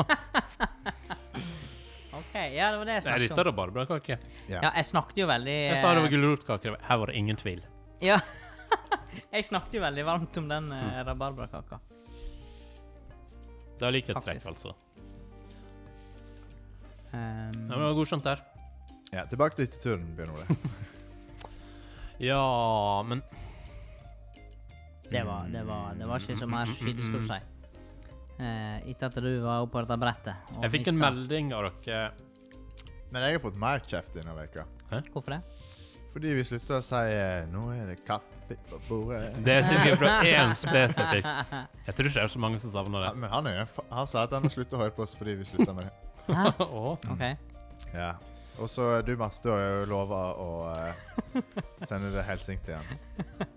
[SPEAKER 2] OK, ja, det var det jeg
[SPEAKER 1] Nei,
[SPEAKER 2] snakket
[SPEAKER 1] dette er
[SPEAKER 2] om.
[SPEAKER 1] rabarbrakake.
[SPEAKER 3] ja.
[SPEAKER 2] Ja, jeg snakket jo veldig
[SPEAKER 1] Jeg sa det
[SPEAKER 2] eh,
[SPEAKER 1] var gulrotkake. Her var det ingen tvil.
[SPEAKER 2] Ja. jeg snakket jo veldig varmt om den eh,
[SPEAKER 1] Mm.
[SPEAKER 2] rabarbrakaka.
[SPEAKER 1] Det er likhetstrekk, altså.
[SPEAKER 2] Faktisk. Um,
[SPEAKER 1] Ja, men det var godkjent der.
[SPEAKER 3] ja. Tilbake til hytteturen, Bjørn Ole.
[SPEAKER 1] Ja, men
[SPEAKER 2] Det var, det var, det var ikke så mer skyldig, skulle du si. Eh, Etter at du var oppe på dette brettet. og
[SPEAKER 1] jeg fikk en
[SPEAKER 2] mista.
[SPEAKER 1] melding av dere
[SPEAKER 3] Men jeg har fått mer kjeft denne veka.
[SPEAKER 2] Hvorfor det?
[SPEAKER 3] Fordi vi slutta å si eh, 'nå er det kaffe på bordet'.
[SPEAKER 1] Det er sikkert fra én spesifikk. Jeg tror ikke det er så mange som savner
[SPEAKER 3] Ja,
[SPEAKER 1] det.
[SPEAKER 3] men han, er, han sa at han må slutte å høre på oss fordi vi slutta med det.
[SPEAKER 2] Hæ?
[SPEAKER 1] Å,
[SPEAKER 2] OK.
[SPEAKER 3] Ja. Og så eh, du, Mats, du har jo lova å eh, sende det hilsing til han.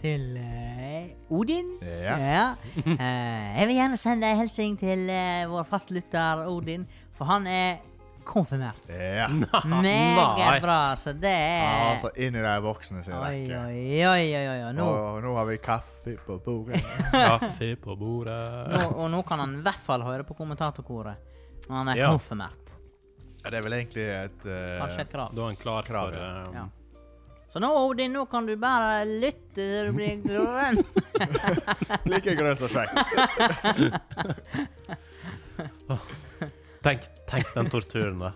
[SPEAKER 2] Til eh, Odin.
[SPEAKER 3] Ja.
[SPEAKER 2] Eh, jeg vil gjerne sende en hilsen til eh, vår fastlytter Odin, for han er konfirmert.
[SPEAKER 3] ja.
[SPEAKER 1] nei.
[SPEAKER 2] Meget bra, så det er
[SPEAKER 3] Altså inn i de voksne sine
[SPEAKER 2] Eh. Oi,
[SPEAKER 3] rekker.
[SPEAKER 2] oi, oi, oi, oi. Og nå,
[SPEAKER 3] Og nå har vi kaffe på bordet.
[SPEAKER 1] Kaffe på bordet
[SPEAKER 2] nå, og nå kan han i hvert fall høre på kommentatorkoret. Han er
[SPEAKER 1] Ja.
[SPEAKER 2] konfirmert.
[SPEAKER 3] Ja, Det er vel egentlig et eh,
[SPEAKER 2] Kanskje et krav.
[SPEAKER 1] Da er han klar
[SPEAKER 3] Krav,
[SPEAKER 1] for
[SPEAKER 3] ja.
[SPEAKER 1] eh,
[SPEAKER 2] Ja. Så nå, Odin, nå kan du bare lytte til du blir grønn.
[SPEAKER 3] Like grønn som Shrek.
[SPEAKER 1] tenk, tenk den torturen, da.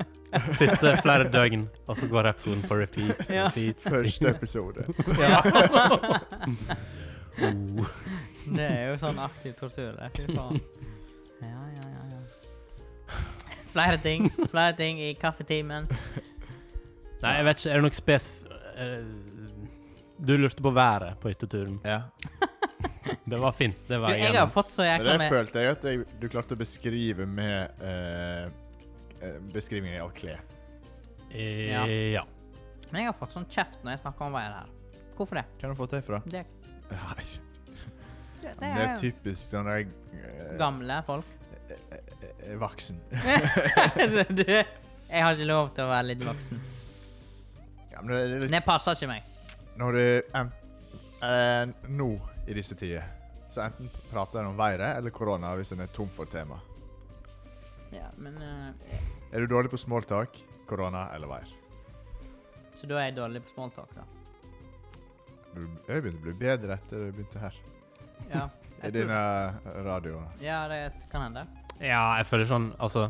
[SPEAKER 1] Sitte flere døgn, og så går episoden på repeat.
[SPEAKER 2] Ja.
[SPEAKER 1] repeat.
[SPEAKER 3] Første episode.
[SPEAKER 1] Ja.
[SPEAKER 2] Det er jo sånn aktiv tortur. det. Fy faen. Ja, ja, ja, ja. Flere ting. Flere ting i kaffetimen.
[SPEAKER 1] Nei, jeg vet ikke. Er det noe spesif... eh, Du lurte på været på hytteturen.
[SPEAKER 3] Ja.
[SPEAKER 1] Det var fint. Det
[SPEAKER 2] Du,
[SPEAKER 1] var
[SPEAKER 2] jeg har fått så
[SPEAKER 3] Men
[SPEAKER 2] jækla
[SPEAKER 3] det
[SPEAKER 2] med
[SPEAKER 3] følte jeg at jeg, du klarte å beskrive med eh, eh, beskrivningen av klær.
[SPEAKER 1] Eh,
[SPEAKER 2] Ja.
[SPEAKER 1] ja.
[SPEAKER 2] Men jeg har fått sånn kjeft når jeg snakker om været her. Hvorfor det?
[SPEAKER 3] Hvor har du fått det fra?
[SPEAKER 2] Det,
[SPEAKER 3] Nei. Det
[SPEAKER 2] det, er
[SPEAKER 3] er
[SPEAKER 2] jo
[SPEAKER 3] typisk sånn der eh,
[SPEAKER 2] gamle folk.
[SPEAKER 3] eh, Vaksen.
[SPEAKER 2] Så du, jeg har ikke lov til å være litt voksen.
[SPEAKER 3] Ja, men det er litt
[SPEAKER 2] Det passer ikke meg.
[SPEAKER 3] Når du en, eh, Nå i disse tider, så enten prater en om været eller korona hvis en er tom for tema.
[SPEAKER 2] Ja, men... eh,
[SPEAKER 3] Er du dårlig på smalltalk, korona eller vær?
[SPEAKER 2] Så da er jeg dårlig på smalltalk, da.
[SPEAKER 3] Du- Jeg begynte å bli bedre etter du begynte her.
[SPEAKER 2] Ja,
[SPEAKER 3] I
[SPEAKER 2] jeg tror
[SPEAKER 3] dine radioer.
[SPEAKER 2] ja det kan hende.
[SPEAKER 1] ja, jeg føler sånn Altså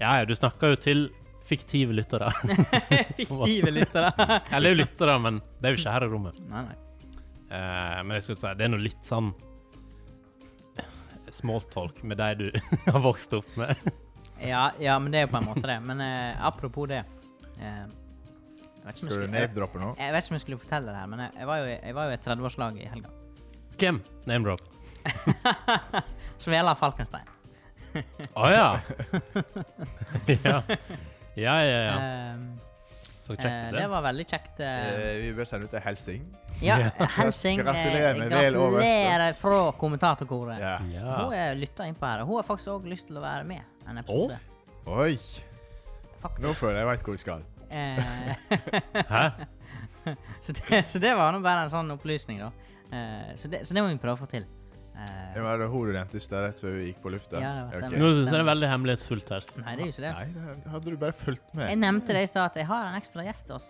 [SPEAKER 1] Ja, ja, du snakker jo til fiktive lyttere.
[SPEAKER 2] Fiktive lyttere.
[SPEAKER 1] Eller jo lyttere, men det er jo ikke her i rommet.
[SPEAKER 2] nei, nei.
[SPEAKER 1] Eh, men jeg skulle si, det er noe litt sånn eh, smalltalk med de du har vokst opp med.
[SPEAKER 2] Ja, ja, men det er jo på en måte det. Men eh, apropos det eh, jeg, vet ikke om jeg,
[SPEAKER 3] Skal du
[SPEAKER 2] skulle, jeg,
[SPEAKER 3] navdroppe nå?
[SPEAKER 2] jeg vet ikke om jeg skulle fortelle det her, men jeg, jeg var jo i- jeg var jo i et 30-årslag i helga.
[SPEAKER 1] Hvem? Name-drop.
[SPEAKER 2] Svela Falkenstein.
[SPEAKER 1] Å ja. ja. Ja, ja, ja.
[SPEAKER 2] Ehm,
[SPEAKER 1] Så
[SPEAKER 2] eh,
[SPEAKER 1] kjekt,
[SPEAKER 2] det
[SPEAKER 1] det.
[SPEAKER 2] var veldig kjekt. eh.
[SPEAKER 3] Eh, vi bør sende ut en hilsing.
[SPEAKER 2] ja,
[SPEAKER 1] ja.
[SPEAKER 2] Helsing. eh,
[SPEAKER 3] Gratulerer med vel
[SPEAKER 2] gratulerer
[SPEAKER 3] overstått.
[SPEAKER 2] fra kommentatorkoret.
[SPEAKER 3] Ja.
[SPEAKER 1] Ja.
[SPEAKER 2] Hun er lytta innpå her, og hun har faktisk òg lyst til å være med i en episode.
[SPEAKER 3] Oi!
[SPEAKER 2] Faktisk.
[SPEAKER 3] Nå føler jeg jeg veit hvor jeg skal.
[SPEAKER 2] Eh,
[SPEAKER 1] Hæ?
[SPEAKER 2] så, det, så det var nå bare en sånn opplysning, da. Eh, så, det, så det må vi prøve å få til. Eh,
[SPEAKER 3] Det var det hun du nevnte i sted rett før vi gikk på lufta.
[SPEAKER 2] Ja, det var
[SPEAKER 3] Ok.
[SPEAKER 2] stemmer.
[SPEAKER 1] Nå syns jeg det er veldig hemmelighetsfullt her.
[SPEAKER 2] nei, det er jo ikke det.
[SPEAKER 3] Nei, det hadde du bare fulgt
[SPEAKER 2] Jeg
[SPEAKER 3] med.
[SPEAKER 2] nevnte det i stad at jeg har en ekstra gjest til oss.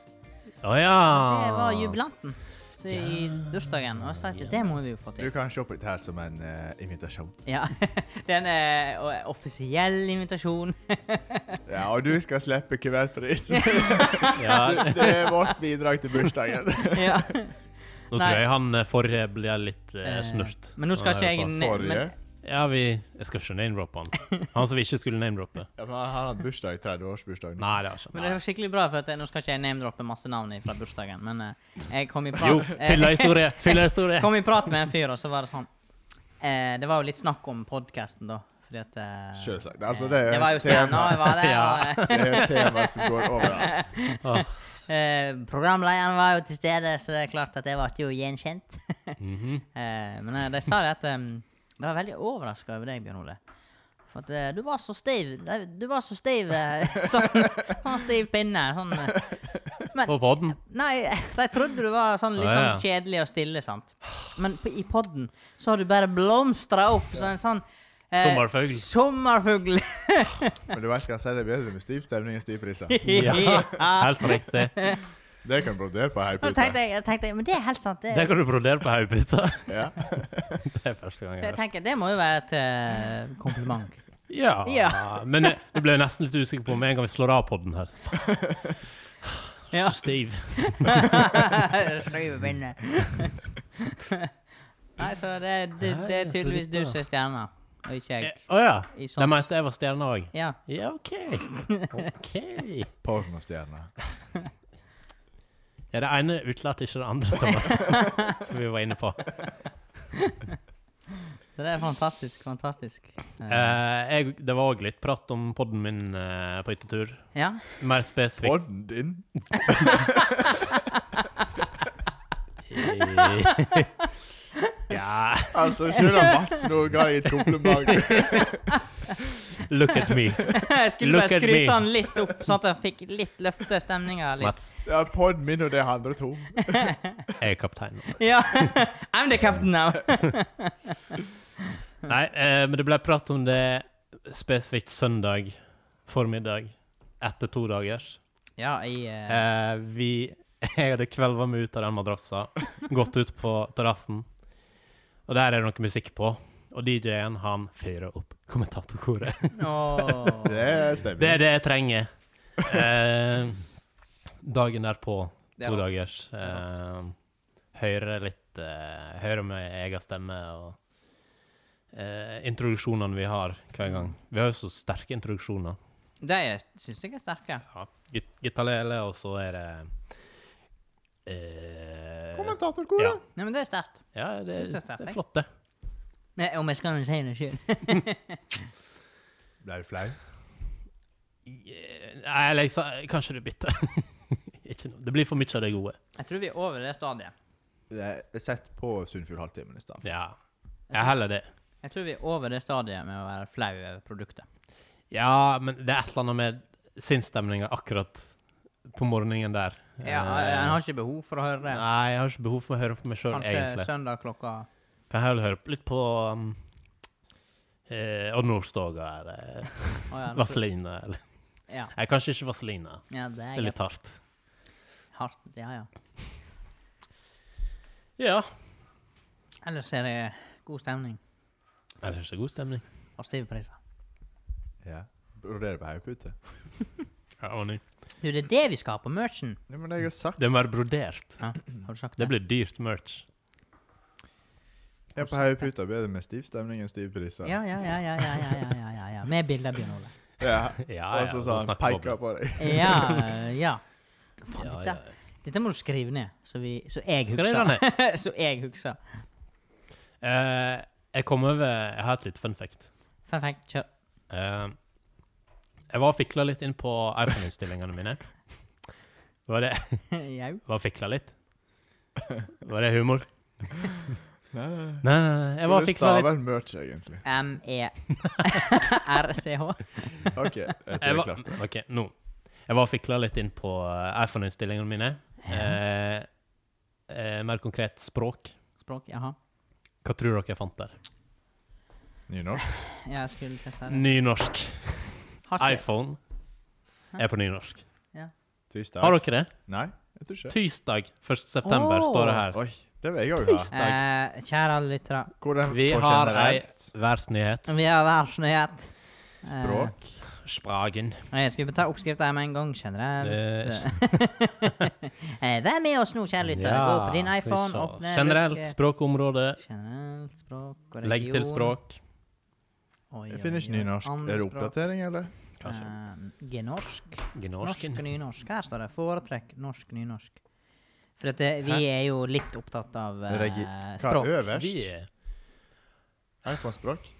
[SPEAKER 1] Å ja.
[SPEAKER 2] Det
[SPEAKER 3] Ah.
[SPEAKER 2] var jubilanten så i bursdagen. Og jeg sa at det må vi jo få
[SPEAKER 3] Du
[SPEAKER 2] til.
[SPEAKER 3] kan se på dette her som en eh, invitasjon.
[SPEAKER 2] Ja, Det er en eh, o- offisiell invitasjon.
[SPEAKER 3] Ja, og du skal slippe kuvertpris.
[SPEAKER 1] ja.
[SPEAKER 3] Det er vårt bidrag til bursdagen.
[SPEAKER 2] ja.
[SPEAKER 1] Nå tror jeg han eh, forrige ble litt eh,
[SPEAKER 2] Eh,
[SPEAKER 1] snurt.
[SPEAKER 2] Men nå skal
[SPEAKER 1] Han er
[SPEAKER 2] ikke jeg
[SPEAKER 1] jo
[SPEAKER 2] ne-
[SPEAKER 3] Forrige.
[SPEAKER 2] men-
[SPEAKER 1] på- Ja, vi Jeg skal ikke name-droppe han. Han som vi ikke skulle name-droppe.
[SPEAKER 3] Ja, men han har hatt bursdag, 30-årsbursdag. nå.
[SPEAKER 1] Nei, det har ikke
[SPEAKER 2] Men det
[SPEAKER 1] han.
[SPEAKER 2] var skikkelig bra, for at jeg, nå skal ikke jeg name-droppe masse navn fra bursdagen, men eh, jeg kom i
[SPEAKER 1] Nei. Jo,
[SPEAKER 2] prat eh,
[SPEAKER 1] fyllehistorie! Fyllehistorie!
[SPEAKER 2] Jeg kom i prat med en fyr, og så var det sånn eh, Det var jo litt snakk om podkasten, da. Fordi at eh,
[SPEAKER 3] Selvsagt. Altså,
[SPEAKER 2] eh,
[SPEAKER 3] det er jo
[SPEAKER 2] det var jo
[SPEAKER 3] et
[SPEAKER 2] Stian
[SPEAKER 3] tema.
[SPEAKER 2] og jeg var det.
[SPEAKER 1] Ja.
[SPEAKER 2] Og,
[SPEAKER 3] Det er et tema som går overalt.
[SPEAKER 1] Åh.
[SPEAKER 2] eh, programlederen var jo til stede, så det er klart at jeg ble jo gjenkjent.
[SPEAKER 1] Mhm.
[SPEAKER 2] Eh, men eh, de sa det at um, De var veldig overraska over deg, Bjørn Ole. For at eh, du var så stiv. De- Du var så stiv. eh, sånn, sånn stiv pinne. Sånn eh,
[SPEAKER 1] På podden.
[SPEAKER 2] Nei, de trodde du var sånn litt
[SPEAKER 1] Ja, ja.
[SPEAKER 2] sånn kjedelig og stille, sant. Men på, i podden så har du bare blomstra opp som en sånn
[SPEAKER 1] Sommerfugl.
[SPEAKER 2] Sommerfugl.
[SPEAKER 3] Men du vet hva jeg sier, det er bedre med stiv stemning enn stiv priser.
[SPEAKER 1] Ja.
[SPEAKER 2] Ja.
[SPEAKER 1] Helt riktig.
[SPEAKER 3] Det kan du brodere på her
[SPEAKER 2] Da
[SPEAKER 3] pute.
[SPEAKER 2] tenkte jeg, jeg tenkte, men det er helt sant. Det.
[SPEAKER 1] Det kan du brodere på hodeputa.
[SPEAKER 3] Ja.
[SPEAKER 1] Det er første gang jeg
[SPEAKER 2] så jeg
[SPEAKER 1] har hørt.
[SPEAKER 2] tenker, det må jo være et eh, kompliment.
[SPEAKER 1] Ja.
[SPEAKER 2] Ja.
[SPEAKER 1] Men jeg jeg ble nesten litt usikker på om en gang vi slår av podden her. Faen,
[SPEAKER 2] Ja.
[SPEAKER 1] Stiv.
[SPEAKER 2] Skrive pinne. Nei, så det,
[SPEAKER 1] Nei,
[SPEAKER 2] det, det
[SPEAKER 1] så
[SPEAKER 2] er tydeligvis du
[SPEAKER 1] dette-
[SPEAKER 2] som er stjerna, og ikke
[SPEAKER 1] Eh,
[SPEAKER 2] jeg.
[SPEAKER 1] Å ja.
[SPEAKER 2] I
[SPEAKER 1] De
[SPEAKER 2] sånn-
[SPEAKER 1] mente jeg var stjerne òg.
[SPEAKER 2] Ja.
[SPEAKER 1] Ja, OK. OK.
[SPEAKER 3] Pornostjerne.
[SPEAKER 1] Ja, det ene utelater ikke det andre, Thomas, som vi var inne på.
[SPEAKER 2] Så det er fantastisk, fantastisk. Eh,
[SPEAKER 1] Eh, jeg, det var òg litt prat om podden min eh, på hyttetur.
[SPEAKER 2] ja.
[SPEAKER 1] Mer spesifikt.
[SPEAKER 3] Podden din?
[SPEAKER 1] ja,
[SPEAKER 3] Altså, selv om Mats nå ga jeg et kompliment.
[SPEAKER 1] look at me,
[SPEAKER 2] Jeg skulle
[SPEAKER 1] Look
[SPEAKER 2] bare
[SPEAKER 1] at me.
[SPEAKER 2] skryte han litt opp, sånn at jeg fikk litt løfte stemninga. Litt.
[SPEAKER 1] Mats.
[SPEAKER 3] Ja, podden min og det er andre to.
[SPEAKER 1] Jeg er kaptein nå.
[SPEAKER 2] Ja. I'm the captain now.
[SPEAKER 1] Nei, eh, men det ble prat om det spesifikt søndag formiddag etter to dagers.
[SPEAKER 2] Ja, jeg eh,
[SPEAKER 1] Eh, vi, jeg hadde kvelva meg ut av den madrassa, gått ut på terrassen, og der er det noe musikk på. Og DJ-en, han fyrer opp kommentatorkoret.
[SPEAKER 2] åh.
[SPEAKER 3] Det
[SPEAKER 2] Mm.
[SPEAKER 3] stemmer.
[SPEAKER 1] Det er det jeg trenger. Eh, dagen derpå,
[SPEAKER 2] Det er
[SPEAKER 1] to
[SPEAKER 2] rart.
[SPEAKER 1] dagers,
[SPEAKER 2] er
[SPEAKER 1] eh, høre litt eh, Høre med egen stemme og eh, introduksjonene vi har hver
[SPEAKER 2] Mm.
[SPEAKER 1] gang. Vi har jo så sterke introduksjoner.
[SPEAKER 2] De syns jeg er sterke.
[SPEAKER 1] Ja. Git Gitarlele, og så er det eh,
[SPEAKER 3] Kommentatorkoret.
[SPEAKER 1] Ja.
[SPEAKER 2] Nei, men det er sterkt.
[SPEAKER 1] Ja, det,
[SPEAKER 2] Synes det
[SPEAKER 1] det
[SPEAKER 2] er sterkt,
[SPEAKER 1] er
[SPEAKER 2] jeg.
[SPEAKER 1] flott, det.
[SPEAKER 2] Men Om jeg skal si det sjøl.
[SPEAKER 3] Ble du flau?
[SPEAKER 1] Nei, eller jeg sa- kanskje du bytter. Ikke noe. det blir for mye av det gode.
[SPEAKER 2] Jeg tror vi er over det stadiet.
[SPEAKER 3] Jeg Sett på Sunnfjord halvtimen i stad.
[SPEAKER 1] Ja. ja, heller det.
[SPEAKER 2] Jeg tror vi er over det stadiet med å være flau over produktet.
[SPEAKER 1] Ja, men det er et eller annet med sinnsstemninga akkurat på morgenen der.
[SPEAKER 2] Ja,
[SPEAKER 1] Eh,
[SPEAKER 2] En har ikke behov for å høre det.
[SPEAKER 1] Nei, jeg har ikke behov for å høre på meg sjøl,
[SPEAKER 2] Kanskje
[SPEAKER 1] egentlig.
[SPEAKER 2] søndag klokka
[SPEAKER 1] Kan jeg heller høre på litt på um, eh, Odd Nordstoga eller
[SPEAKER 2] Å, ja, nå-
[SPEAKER 1] Vazelina eller
[SPEAKER 2] Ja.
[SPEAKER 1] Nei, kanskje ikke Vazelina.
[SPEAKER 2] ja, det
[SPEAKER 1] Det er
[SPEAKER 2] er
[SPEAKER 1] litt
[SPEAKER 2] greit.
[SPEAKER 1] hardt.
[SPEAKER 2] Hardt. Ja, ja.
[SPEAKER 1] Ja.
[SPEAKER 2] Ellers er det god stemning
[SPEAKER 1] Ellers er det god stemning.
[SPEAKER 2] og stive priser.
[SPEAKER 3] Ja. Broderer på haugpute.
[SPEAKER 1] Ja, ordning.
[SPEAKER 2] Du, det er det vi skal ha på merchen.
[SPEAKER 3] Ja, men jeg har sagt
[SPEAKER 1] Det må være brodert.
[SPEAKER 2] Ja, har du sagt
[SPEAKER 1] Det
[SPEAKER 2] det?
[SPEAKER 1] blir dyrt merch.
[SPEAKER 3] Ja, på haugputa blir det med stiv stemning enn stiv priser.
[SPEAKER 2] Ja, ja, ja, ja, ja, ja, ja, ja, ja, ja. Med bilder, Bjørn Ole.
[SPEAKER 3] Ja.
[SPEAKER 1] Ja,
[SPEAKER 3] Og så sa han
[SPEAKER 1] snakker vi om
[SPEAKER 3] peker på deg.
[SPEAKER 2] Ja, ja.
[SPEAKER 1] det.
[SPEAKER 2] Faen,
[SPEAKER 1] Ja, ja.
[SPEAKER 2] dette, dette må du skrive ned, så, vi, så jeg
[SPEAKER 1] Skal jeg gjøre
[SPEAKER 2] husker. så jeg husker.
[SPEAKER 1] Eh, jeg kom over Jeg har et litt fun fact.
[SPEAKER 2] Fun fact, kjør.
[SPEAKER 1] Eh, jeg var og fikla litt inn på iPhone-innstillingene mine. Var det
[SPEAKER 2] Jau.
[SPEAKER 1] Var fikla litt? Var det humor?
[SPEAKER 3] Nei, nei, nei.
[SPEAKER 1] Nei, nei, nei, jeg var og
[SPEAKER 3] Det
[SPEAKER 1] fikla litt.
[SPEAKER 3] staver merch, egentlig.
[SPEAKER 2] E M-E-R-C-H.
[SPEAKER 3] OK, jeg tror
[SPEAKER 1] Jeg
[SPEAKER 3] jeg
[SPEAKER 1] var,
[SPEAKER 3] klarte det.
[SPEAKER 1] ok, nå. Jeg var og fikla litt inn på eh, iPhone-innstillingene mine. Eh, eh, mer konkret språk.
[SPEAKER 2] Språk, jaha.
[SPEAKER 1] Hva tror dere jeg fant der?
[SPEAKER 3] Nynorsk.
[SPEAKER 2] Ja, Jeg skulle til å si det.
[SPEAKER 1] Nynorsk.
[SPEAKER 2] Har ikke-
[SPEAKER 1] iPhone er på nynorsk. Har
[SPEAKER 3] Tirsdag.
[SPEAKER 1] dere det?
[SPEAKER 3] Nei, jeg tror ikke
[SPEAKER 1] Tirsdag 1. september
[SPEAKER 2] Åh.
[SPEAKER 1] står det her.
[SPEAKER 3] Oi, det vil jeg òg ha.
[SPEAKER 2] Eh, kjære alle lyttere,
[SPEAKER 3] Hvordan
[SPEAKER 1] Vi
[SPEAKER 3] på
[SPEAKER 1] har
[SPEAKER 3] generelt
[SPEAKER 1] Verdensnyhet.
[SPEAKER 2] vi har hver sin nyhet. Eh,
[SPEAKER 3] språk
[SPEAKER 1] Spragen.
[SPEAKER 2] og jeg skulle ta oppskrifta her med en gang, generelt.
[SPEAKER 1] Eh,
[SPEAKER 2] Eh, Vær med oss nå, kjære lyttere.
[SPEAKER 1] ja,
[SPEAKER 2] Gå på din
[SPEAKER 1] skal vi
[SPEAKER 2] iPhone,
[SPEAKER 1] se.
[SPEAKER 2] åpne
[SPEAKER 1] Generelt
[SPEAKER 2] lukke-
[SPEAKER 1] språkområde.
[SPEAKER 2] Generelt språk og
[SPEAKER 1] Legg til
[SPEAKER 2] religion.
[SPEAKER 1] språk.
[SPEAKER 2] Oi,
[SPEAKER 3] Jeg finner ikke
[SPEAKER 2] oi, oi.
[SPEAKER 3] nynorsk.
[SPEAKER 2] Andre
[SPEAKER 3] Er det
[SPEAKER 2] språk.
[SPEAKER 3] oppdatering, eller?
[SPEAKER 1] Kanskje.
[SPEAKER 2] Eh, genorsk. Norsk
[SPEAKER 1] Gnorsken.
[SPEAKER 2] og nynorsk. Her står det 'foretrekk norsk nynorsk'. For at det, vi er jo litt opptatt av eh,
[SPEAKER 3] Regi- Hva
[SPEAKER 2] språk.
[SPEAKER 3] er
[SPEAKER 1] Vi
[SPEAKER 3] øverst?
[SPEAKER 1] er
[SPEAKER 3] iPhone-språk.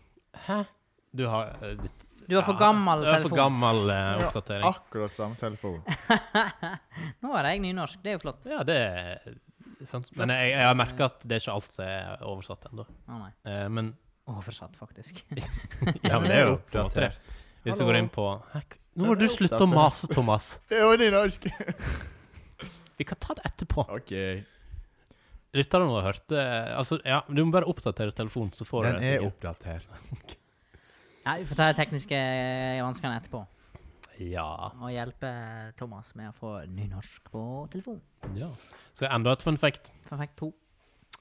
[SPEAKER 1] Hæ? Du har eh, ditt
[SPEAKER 2] Du er for
[SPEAKER 1] Ja,
[SPEAKER 2] gammel
[SPEAKER 1] Du er for
[SPEAKER 2] telefon. Ah.
[SPEAKER 1] gammel eh,
[SPEAKER 3] Ja,
[SPEAKER 1] oppdatering.
[SPEAKER 3] Akkurat samme telefon.
[SPEAKER 2] Nå er jeg nynorsk, det er jo flott.
[SPEAKER 1] Ja, det er sant. Men jeg, jeg har merka at det er ikke alt som er oversatt ennå.
[SPEAKER 2] Å nei.
[SPEAKER 1] Eh, men
[SPEAKER 2] Oversatt, faktisk.
[SPEAKER 1] ja, men det er jo på en måte det.
[SPEAKER 3] Oppdatert.
[SPEAKER 1] Hvis du
[SPEAKER 3] Hallo.
[SPEAKER 1] går inn på Hæ, k- Nå må
[SPEAKER 3] Den
[SPEAKER 1] du
[SPEAKER 3] er
[SPEAKER 1] slutte å
[SPEAKER 3] oppdatert.
[SPEAKER 1] mase, Thomas.
[SPEAKER 3] Det er jo nynorsk!
[SPEAKER 1] Vi kan ta det etterpå.
[SPEAKER 3] OK.
[SPEAKER 1] Lytterne våre hørte Altså, ja, du må bare oppdatere telefonen, så får du
[SPEAKER 3] Den
[SPEAKER 1] det.
[SPEAKER 3] er
[SPEAKER 1] sikkert.
[SPEAKER 3] oppdatert.
[SPEAKER 2] Ja, vi får ta de tekniske eh, vanskene etterpå.
[SPEAKER 1] Ja.
[SPEAKER 2] Og hjelpe eh, Thomas med å få nynorsk på telefon.
[SPEAKER 1] ja. Så enda et fun fact.
[SPEAKER 2] Perfekt to.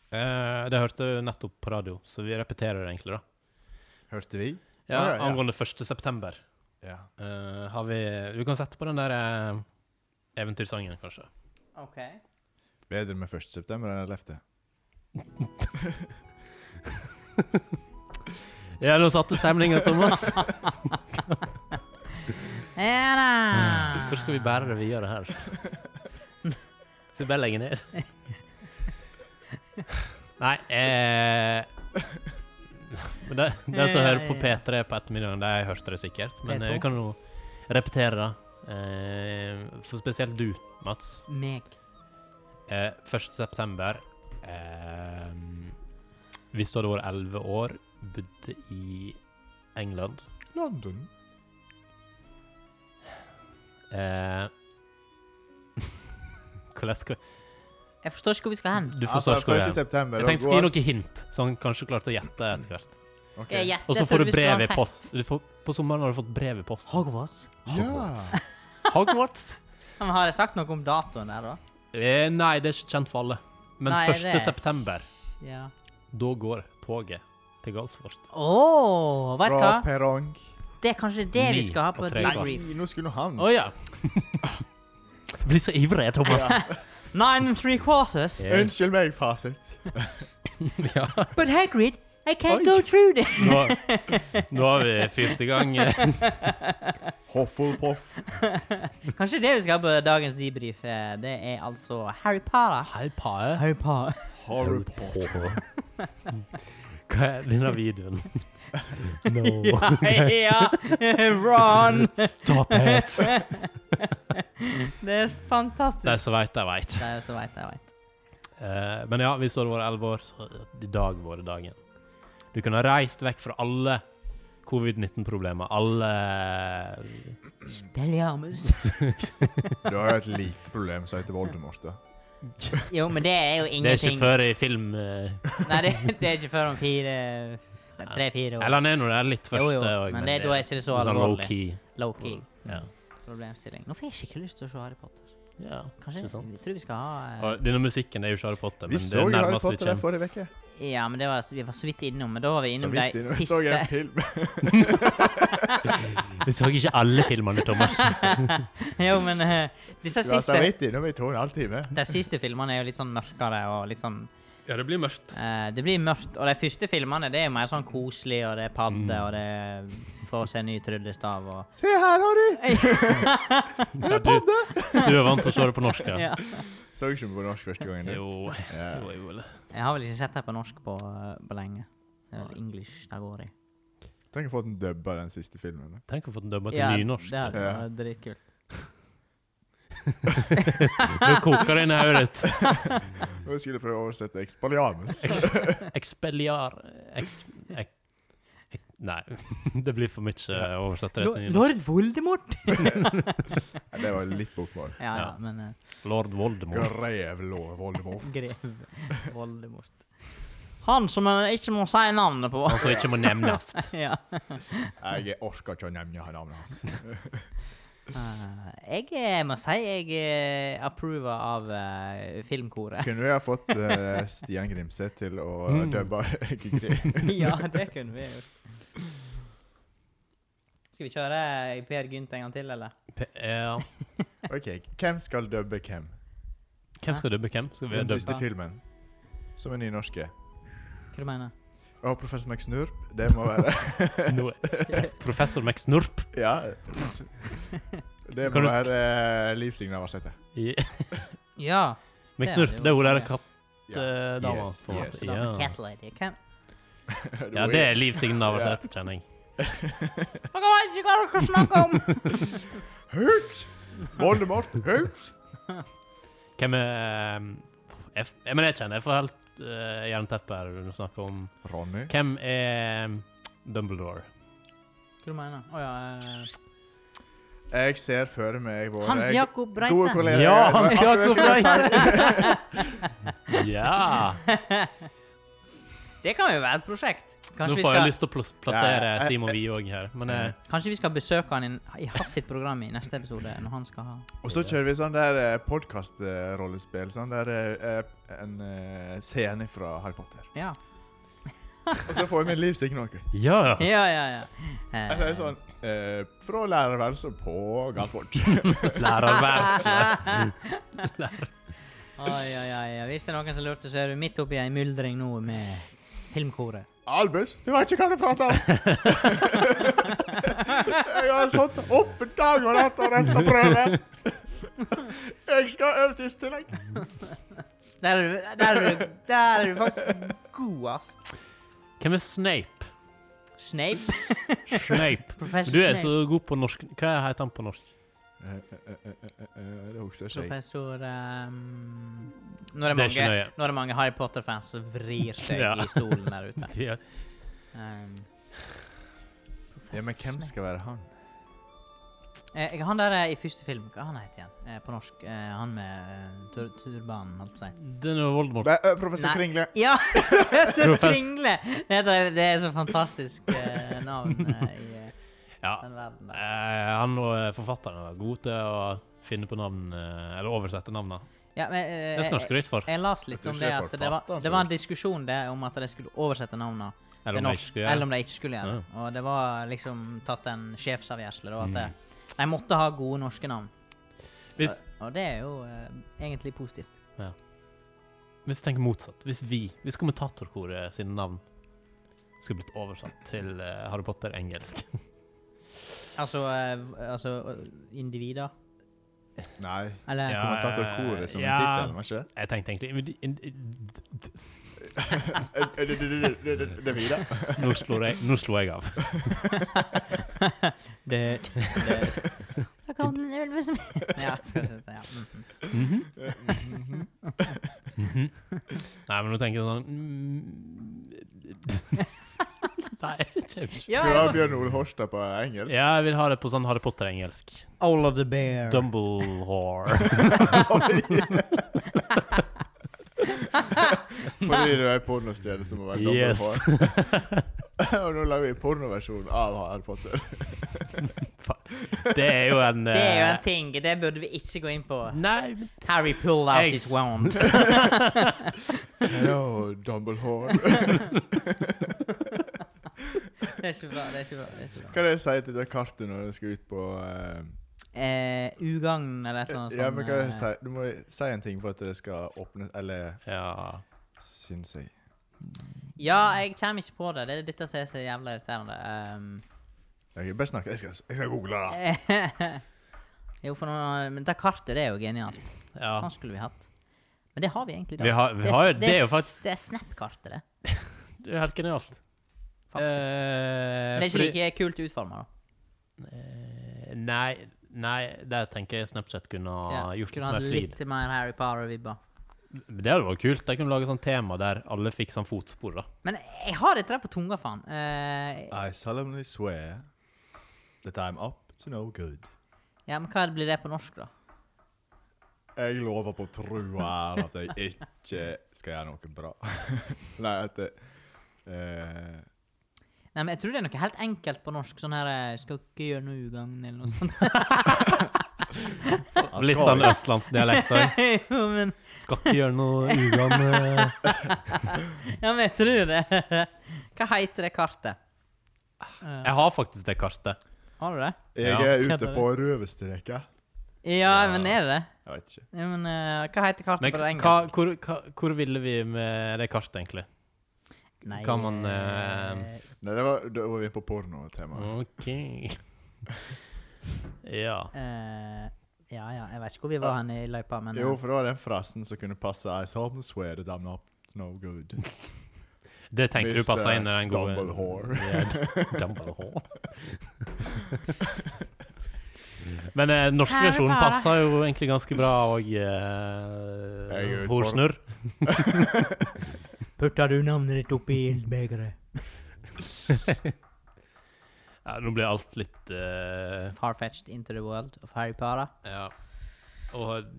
[SPEAKER 1] Eh, det hørte jeg nettopp på radio, så vi repeterer det egentlig, da.
[SPEAKER 3] Hørte vi?
[SPEAKER 1] Ja,
[SPEAKER 3] Ah, ja, ja.
[SPEAKER 1] Angående 1. september.
[SPEAKER 3] Ja.
[SPEAKER 1] eh, har vi Du kan sette på den der eh, eventyrsangen, kanskje.
[SPEAKER 2] Ok.
[SPEAKER 3] Bedre med 1. september enn 11.
[SPEAKER 1] Ja, nå satte stemninga, Thomas.
[SPEAKER 2] Ja da!
[SPEAKER 1] Hvor skal vi bære det videre her? Skal vi bare legge ned? Nei eh, men de, de som hører på P3 på ettermiddagen, de hørte det sikkert. Men eh, vi kan jo repetere det. Eh, for spesielt du, Mats.
[SPEAKER 2] Meg.
[SPEAKER 1] Eh, 1. september eh, Hvis du hadde vært 11 år, bodde i England
[SPEAKER 3] London.
[SPEAKER 1] eh, Hvordan skal
[SPEAKER 2] Jeg forstår ikke hvor vi skal hen.
[SPEAKER 1] Du forstår
[SPEAKER 3] altså,
[SPEAKER 1] hvor jeg
[SPEAKER 3] 1. september,
[SPEAKER 1] Jeg
[SPEAKER 3] da
[SPEAKER 1] tenkte jeg skulle gi
[SPEAKER 3] går-
[SPEAKER 1] noen hint, så han kanskje klarte å gjette etter hvert.
[SPEAKER 3] Ok.
[SPEAKER 2] Skal Mm. jeg gjette?
[SPEAKER 1] Og så
[SPEAKER 2] før
[SPEAKER 1] får du
[SPEAKER 2] vi skal ha
[SPEAKER 1] brev i
[SPEAKER 2] fact?
[SPEAKER 1] post. Du får, på sommeren har du fått brev i post.
[SPEAKER 2] Hogwarts?
[SPEAKER 1] Hogwarts. Hogwarts?
[SPEAKER 2] Ja, Men har jeg sagt noe om datoen der, da?
[SPEAKER 1] Eh, nei, det er ikke kjent for alle. Men
[SPEAKER 2] Nei,
[SPEAKER 1] 1.
[SPEAKER 2] det er-
[SPEAKER 1] september,
[SPEAKER 2] Ja.
[SPEAKER 1] da går toget til Galsfort.
[SPEAKER 2] Å, vet du
[SPEAKER 3] Fra
[SPEAKER 2] hva?
[SPEAKER 3] perrong.
[SPEAKER 2] Det er kanskje det vi
[SPEAKER 1] Ni
[SPEAKER 2] skal ha på
[SPEAKER 1] og tre
[SPEAKER 3] Nei,
[SPEAKER 2] debrief.
[SPEAKER 3] nå skulle nå han
[SPEAKER 1] Å ja. Jeg blir så ivrig, Thomas.
[SPEAKER 2] Nine and three quarters.
[SPEAKER 1] Yes.
[SPEAKER 3] Unnskyld meg, fasit.
[SPEAKER 1] Ja.
[SPEAKER 2] But Hagrid, I can't
[SPEAKER 1] Oi.
[SPEAKER 2] go through this.
[SPEAKER 1] Nå, nå har vi fyrt i gang. eh,
[SPEAKER 3] Hufflepuff.
[SPEAKER 2] Kanskje det vi skal ha på dagens debrief, eh, det er altså Harry Potter.
[SPEAKER 1] Hei, Pae.
[SPEAKER 2] Harry Potter.
[SPEAKER 3] Harry Potter.
[SPEAKER 1] Hva er denne videoen? No.
[SPEAKER 2] ja, ja, Ron.
[SPEAKER 1] Stop it!
[SPEAKER 2] Det er fantastisk.
[SPEAKER 1] De som veit, de veit.
[SPEAKER 2] Det er så veit jeg veit.
[SPEAKER 1] Eh, men ja, vi står over elleve år, så i dag var det dagen. Du kunne ha reist vekk fra alle covid-19-problemer, alle
[SPEAKER 2] Spelliarmus.
[SPEAKER 3] Du har jo et lite problem som heter Voldemort. da.
[SPEAKER 2] Jo, men det er jo
[SPEAKER 1] Det er ikke
[SPEAKER 2] ingenting.
[SPEAKER 1] før i film eh,
[SPEAKER 2] Nei, det, det er ikke før om fire Tre-fire år.
[SPEAKER 1] Eller han er nå der litt først.
[SPEAKER 2] Jo, jo,
[SPEAKER 1] det også,
[SPEAKER 2] men det- da er ikke det så
[SPEAKER 1] sånn
[SPEAKER 2] alvorlig. Mm.
[SPEAKER 1] low-key. Mm.
[SPEAKER 2] Low-key.
[SPEAKER 1] Ja.
[SPEAKER 2] Problemstilling. Nå får jeg skikkelig lyst til å se Harry Potter.
[SPEAKER 1] ja.
[SPEAKER 2] Kanskje
[SPEAKER 1] Ikke sant?
[SPEAKER 2] Jeg tror vi skal ha eh,
[SPEAKER 1] Og denne musikken er jo ikke Harry Potter,
[SPEAKER 3] Vi
[SPEAKER 1] men
[SPEAKER 3] så
[SPEAKER 1] det
[SPEAKER 3] jo
[SPEAKER 1] er
[SPEAKER 3] Harry
[SPEAKER 1] nærmest vi
[SPEAKER 3] Potter der
[SPEAKER 1] kommer.
[SPEAKER 3] forrige uke.
[SPEAKER 2] Ja, men det var, vi var så vidt innom, men da var vi
[SPEAKER 3] Så
[SPEAKER 2] innom
[SPEAKER 3] vidt
[SPEAKER 2] de
[SPEAKER 3] innom. Vi så en
[SPEAKER 2] siste
[SPEAKER 3] film.
[SPEAKER 1] Vi så ikke alle filmene, Thomas.
[SPEAKER 2] Jo, men eh, disse
[SPEAKER 3] Du var så
[SPEAKER 2] siste
[SPEAKER 3] vidt innom i to og en halv time.
[SPEAKER 2] De siste filmene er jo litt sånn mørkere og litt sånn
[SPEAKER 1] Ja, det blir mørkt.
[SPEAKER 2] eh, Det blir mørkt. Og de første filmene det er jo mer sånn koselig, og det er padde,
[SPEAKER 1] Mm.
[SPEAKER 2] og det er få seg ny tryllestav og
[SPEAKER 3] Se her, Harry!
[SPEAKER 1] Ja, du, du er vant til å se det på norsk, ja.
[SPEAKER 2] ja.
[SPEAKER 3] Så ikke på norsk første gangen. du.
[SPEAKER 1] Jo,
[SPEAKER 3] Ja.
[SPEAKER 1] jo, jo. eller.
[SPEAKER 2] Jeg har vel ikke sett det på norsk på, eh, på lenge. Det er vel English det går i.
[SPEAKER 3] Tenk å få den dubba, den siste filmen. da.
[SPEAKER 1] Tenk å få den dømma til nynorsk.
[SPEAKER 2] Det hadde
[SPEAKER 3] Ja.
[SPEAKER 2] vært dritkult.
[SPEAKER 1] Nå koker det inn i hodet ditt.
[SPEAKER 3] Nå skulle jeg prøve å oversette Expelliarmus.
[SPEAKER 1] Expelliar... Ex... ek- ek- Nei, det blir for mye eh, å oversette det
[SPEAKER 2] Lo-
[SPEAKER 1] til nynorsk.
[SPEAKER 2] Lord Voldemort!
[SPEAKER 3] Ja, Det var litt bokmål.
[SPEAKER 2] ja, ja,
[SPEAKER 1] Ja.
[SPEAKER 2] men eh,
[SPEAKER 1] Lord Voldemort.
[SPEAKER 3] Grevlå Voldemort.
[SPEAKER 2] grev Voldemort. Han som en ikke må si navnet på.
[SPEAKER 1] Han som ikke må nevnes.
[SPEAKER 2] ja.
[SPEAKER 3] Jeg orker ikke å nevne navnet hans.
[SPEAKER 2] Eh, jeg eh, må si jeg eh, approver av eh, filmkoret.
[SPEAKER 3] Kunne vi ha fått eh, Stian Grimseth til å
[SPEAKER 1] Mm.
[SPEAKER 3] dubbe Gigri?
[SPEAKER 2] ja, det kunne vi gjort. Skal vi kjøre eh, Per Gynt en gang til, eller?
[SPEAKER 1] P- Ja.
[SPEAKER 3] Ok, hvem skal dubbe hvem?
[SPEAKER 1] Hvem skal dubbe hvem? Skal vi
[SPEAKER 3] Den
[SPEAKER 1] dubbe?
[SPEAKER 3] siste filmen. Som er nynorske.
[SPEAKER 2] Hva du mener du?
[SPEAKER 3] Og Professor McSnurp, det må være
[SPEAKER 1] Nå er- Professor McSnurp.
[SPEAKER 3] Ja. Det
[SPEAKER 1] Kan
[SPEAKER 3] må
[SPEAKER 1] du sk-
[SPEAKER 3] være uh, livsignalversettet.
[SPEAKER 1] i-
[SPEAKER 2] Ja.
[SPEAKER 1] McSnurp, det er hun der
[SPEAKER 3] Ja.
[SPEAKER 1] kattedama,
[SPEAKER 3] Yes,
[SPEAKER 1] på en
[SPEAKER 3] yes.
[SPEAKER 1] måte.
[SPEAKER 2] Som en
[SPEAKER 1] Ja.
[SPEAKER 2] cat lady. Hvem?
[SPEAKER 1] ja, det er Liv Signe Navarsete, kjenner jeg.
[SPEAKER 2] Dere vet ikke hva dere snakker om!
[SPEAKER 3] Høyt! Voldemort, høyt!
[SPEAKER 1] Hvem er um, jeg, f- jeg, Men jeg kjenner jeg får helt uh, jernteppe her når du snakker om
[SPEAKER 3] Ronny.
[SPEAKER 1] Hvem er um, Dumbledore?
[SPEAKER 2] Hva du mener du? Å ja. eh,
[SPEAKER 3] Jeg ser for meg våre
[SPEAKER 2] Hans Jakob
[SPEAKER 3] gode
[SPEAKER 2] Breite.
[SPEAKER 3] kollegaer.
[SPEAKER 1] Ja, Hans
[SPEAKER 3] Det var akkurat
[SPEAKER 1] Jakob
[SPEAKER 3] det jeg skulle si.
[SPEAKER 1] Ja!
[SPEAKER 2] Det kan jo være et prosjekt.
[SPEAKER 1] Nå
[SPEAKER 2] Kanskje vi,
[SPEAKER 1] får jeg
[SPEAKER 2] skal,
[SPEAKER 1] lyst til å plas- plassere
[SPEAKER 3] Ja, ja.
[SPEAKER 1] Simon Wiog her, men eh,
[SPEAKER 2] kanskje vi skal besøke han i, i hans sitt program i neste episode, når han skal ha
[SPEAKER 3] Og så kjører vi sånn der podkast-rollespill. Sånn der eh, en eh, scene fra Harry Potter.
[SPEAKER 2] Ja.
[SPEAKER 3] Og så får vi med Liv Signe noe.
[SPEAKER 1] Ja!
[SPEAKER 2] Ja, ja, ja. Eh,
[SPEAKER 3] Jeg sier sånn eh, Fra lærerværelset på Galfort.
[SPEAKER 1] Lærerværelse.
[SPEAKER 2] Oi, oi, oi. Hvis det er noen som lurte, så er du midt oppi ei myldring nå med filmkoret.
[SPEAKER 3] Albus, du vet ikke hva du prater om! jeg har satt opp dag og natt og rett og prøve. Jeg skal øve tidstillegg.
[SPEAKER 2] Der er du, der er du, der er du faktisk god, ass.
[SPEAKER 1] Hvem er Snape?
[SPEAKER 2] Snape.
[SPEAKER 1] Snape.
[SPEAKER 2] Professor
[SPEAKER 1] Du er
[SPEAKER 2] Snape.
[SPEAKER 1] så god på norsk. Hva heter han på norsk?
[SPEAKER 3] Det husker ikke jeg.
[SPEAKER 2] Professor ehm, nå, er det
[SPEAKER 1] Det er ikke
[SPEAKER 2] mange,
[SPEAKER 1] nøye.
[SPEAKER 2] nå er det mange Harry Potter-fans som vrir seg
[SPEAKER 1] Ja.
[SPEAKER 2] i stolen der ute.
[SPEAKER 1] Ja.
[SPEAKER 2] Ehm,
[SPEAKER 3] Ja, men
[SPEAKER 2] Professor
[SPEAKER 3] hvem
[SPEAKER 2] Snape.
[SPEAKER 3] skal være han?
[SPEAKER 2] Eh, jeg- han der eh, i første film, hva han heter igjen? Eh, på norsk. Eh, han med eh, tur turbanen, holdt på å si.
[SPEAKER 1] Det er jo Voldemort.
[SPEAKER 3] Nei, ø, Professor
[SPEAKER 2] Nei.
[SPEAKER 3] Kringle.
[SPEAKER 2] Ja! Professor
[SPEAKER 1] Profess-
[SPEAKER 2] Kringle! Det, heter, det er så fantastisk eh, navn eh, i eh,
[SPEAKER 1] Ja.
[SPEAKER 2] den verden. der.
[SPEAKER 1] Eh, han og eh, forfatteren er gode til å finne på navn, eh, eller oversette navnene.
[SPEAKER 2] Ja, men, eh,
[SPEAKER 1] Det skal han
[SPEAKER 2] jeg-
[SPEAKER 1] skryte for.
[SPEAKER 2] Jeg las litt
[SPEAKER 3] Jeg tror
[SPEAKER 2] om
[SPEAKER 3] ikke
[SPEAKER 2] det
[SPEAKER 3] jeg altså.
[SPEAKER 2] at det var,
[SPEAKER 3] forfatter han,
[SPEAKER 2] det
[SPEAKER 3] så
[SPEAKER 2] var en diskusjon det om at de skulle oversette navnene
[SPEAKER 1] Eller om jeg
[SPEAKER 2] til
[SPEAKER 1] ikke
[SPEAKER 2] norsk,
[SPEAKER 1] skulle
[SPEAKER 2] eller
[SPEAKER 1] gjøre det.
[SPEAKER 2] om de ikke skulle gjøre det. Og det var liksom tatt en sjefsavgjørelse,
[SPEAKER 1] Mm.
[SPEAKER 2] da, at det- de måtte ha gode norske navn.
[SPEAKER 1] Hvis,
[SPEAKER 2] Og det er jo eh, egentlig positivt.
[SPEAKER 1] hvis du tenker motsatt, hvis vi, hvis kommentatorkoret sine navn skulle blitt oversatt til eh, Harry Potter engelsk
[SPEAKER 2] Altså, eh, v- altså eh, individer,
[SPEAKER 3] Nei.
[SPEAKER 2] eller
[SPEAKER 1] Ja.
[SPEAKER 3] Kommentatorkoret som
[SPEAKER 1] Ja.
[SPEAKER 3] tittel, var ikke det?
[SPEAKER 1] Jeg tenkte egentlig men de- in- in-
[SPEAKER 3] Ø, ø, det- det- det- det- det- Det er Vida.
[SPEAKER 1] Nå slo jeg, nå slo jeg av.
[SPEAKER 2] det, det. Da kom den ulven som Ja, skal vi si det. Ja. mhm.
[SPEAKER 1] Mhm. Nei, men nå tenker jeg sånn mm, Nei, det kommer ikke
[SPEAKER 2] ja,
[SPEAKER 3] Du har
[SPEAKER 2] ja.
[SPEAKER 3] Bjørn Ole Horstad på engelsk.
[SPEAKER 1] Ja, jeg vil ha det på sånn Harry Potter-engelsk.
[SPEAKER 2] Ola the Bear.
[SPEAKER 1] Dumblehore.
[SPEAKER 3] Fordi du er pornostjerne som må være dobbel
[SPEAKER 1] Yes.
[SPEAKER 3] hår. Og nå lager vi pornoversjon av Harry Potter.
[SPEAKER 1] Det er jo en
[SPEAKER 2] Det er jo
[SPEAKER 1] eh,
[SPEAKER 2] en ting. Det burde vi ikke gå inn på.
[SPEAKER 1] Nei, men
[SPEAKER 2] Harry pulled out
[SPEAKER 1] Jeg-
[SPEAKER 2] his wand.
[SPEAKER 3] Hello, Dumbledore.
[SPEAKER 2] Det er ikke bra. det er ikke bra, det er ikke bra.
[SPEAKER 3] Hva er det jeg sier til det kartet når jeg skal ut på eh,
[SPEAKER 2] Eh, ugagn eller et eller annet sånt.
[SPEAKER 3] Ja, men hva er det jeg
[SPEAKER 2] eh,
[SPEAKER 3] sier? Du må si en ting for at det skal åpnes Eller
[SPEAKER 1] Ja.
[SPEAKER 3] syns jeg
[SPEAKER 2] ja, jeg kommer ikke på det. Det er dette som er så jævla irriterende. Um,
[SPEAKER 3] Jeg kan bare snakke. Jeg skal, jeg skal google det.
[SPEAKER 2] jo, for noen, men det kartet, det er jo genialt.
[SPEAKER 1] ja.
[SPEAKER 2] Sånn skulle vi hatt. Men det har vi egentlig i
[SPEAKER 1] Vi har, vi
[SPEAKER 2] Det er-
[SPEAKER 1] har jo
[SPEAKER 2] det
[SPEAKER 1] Det er jo faktisk Eh,
[SPEAKER 2] s- Det er Snap-kartet, det.
[SPEAKER 1] Det er helt genialt.
[SPEAKER 2] Faktisk.
[SPEAKER 1] Eh,
[SPEAKER 2] men det er ikke like kult utforma, da.
[SPEAKER 1] Eh, Nei, nei, der tenker jeg Snapchat kunne ha gjort litt
[SPEAKER 2] kunne hatt
[SPEAKER 1] mer flid.
[SPEAKER 2] litt mer Harry Potter-vibber.
[SPEAKER 1] Det hadde vært kult. Jeg kunne lage sånn tema der alle fikk sånn fotspor, da.
[SPEAKER 2] Men jeg har dette der på tunga, faen. Eh,
[SPEAKER 3] I solemnly swear that I'm up to no good.
[SPEAKER 2] ja, men hva blir det på norsk, da?
[SPEAKER 3] Jeg lover på trua at jeg ikke skal gjøre noe bra. Nei, at det eh,
[SPEAKER 2] Nei, men Jeg tror det er noe helt enkelt på norsk. Sånn her eh, 'Skal ikke gjøre noe ugagn', eller noe sånt.
[SPEAKER 3] han
[SPEAKER 1] Litt
[SPEAKER 3] skal
[SPEAKER 1] sånn
[SPEAKER 3] jo-
[SPEAKER 1] østlandsdialekt. da.
[SPEAKER 2] jo, men
[SPEAKER 1] Skal ikke gjøre noe ugagn. eh.
[SPEAKER 2] Ja, men jeg tror det. Hva heter det kartet? Eh,
[SPEAKER 1] Jeg har faktisk det kartet.
[SPEAKER 2] har du det?
[SPEAKER 3] Jeg
[SPEAKER 1] Ja.
[SPEAKER 3] er ute på røverstreka.
[SPEAKER 2] Ja, men er det det?
[SPEAKER 3] Jeg vet ikke.
[SPEAKER 2] Ja, men eh, hva heter kartet
[SPEAKER 1] Men
[SPEAKER 2] på det
[SPEAKER 1] hva,
[SPEAKER 2] engelsk?
[SPEAKER 1] hvor, hva, hvor ville vi med det kartet, egentlig?
[SPEAKER 2] Nei,
[SPEAKER 1] kan man,
[SPEAKER 2] eh,
[SPEAKER 3] Nei, det var, da var vi på pornotemaet.
[SPEAKER 1] OK. Ja.
[SPEAKER 2] eh, Ja, ja, jeg vet ikke hvor vi var hen i løypa, men
[SPEAKER 3] Jo,
[SPEAKER 2] eh,
[SPEAKER 3] for det var den frasen som kunne passe I solemnly swear that I'm up to no good.
[SPEAKER 1] Det tenker du
[SPEAKER 3] Mr.
[SPEAKER 1] passer inn i den gode
[SPEAKER 3] Dumbledore.
[SPEAKER 1] Ja, d- Dumbledore. Men eh, norsk
[SPEAKER 2] Her er
[SPEAKER 1] versjon
[SPEAKER 2] bare-
[SPEAKER 1] passer jo egentlig ganske bra og eh,
[SPEAKER 3] Jeg er ut på
[SPEAKER 1] Horsnurr.
[SPEAKER 2] Putta du navnet ditt oppi ildbegeret?
[SPEAKER 1] Ja, nå blir alt litt eh,
[SPEAKER 2] Farfetched into the world of Harry Potter.
[SPEAKER 1] Ja. Og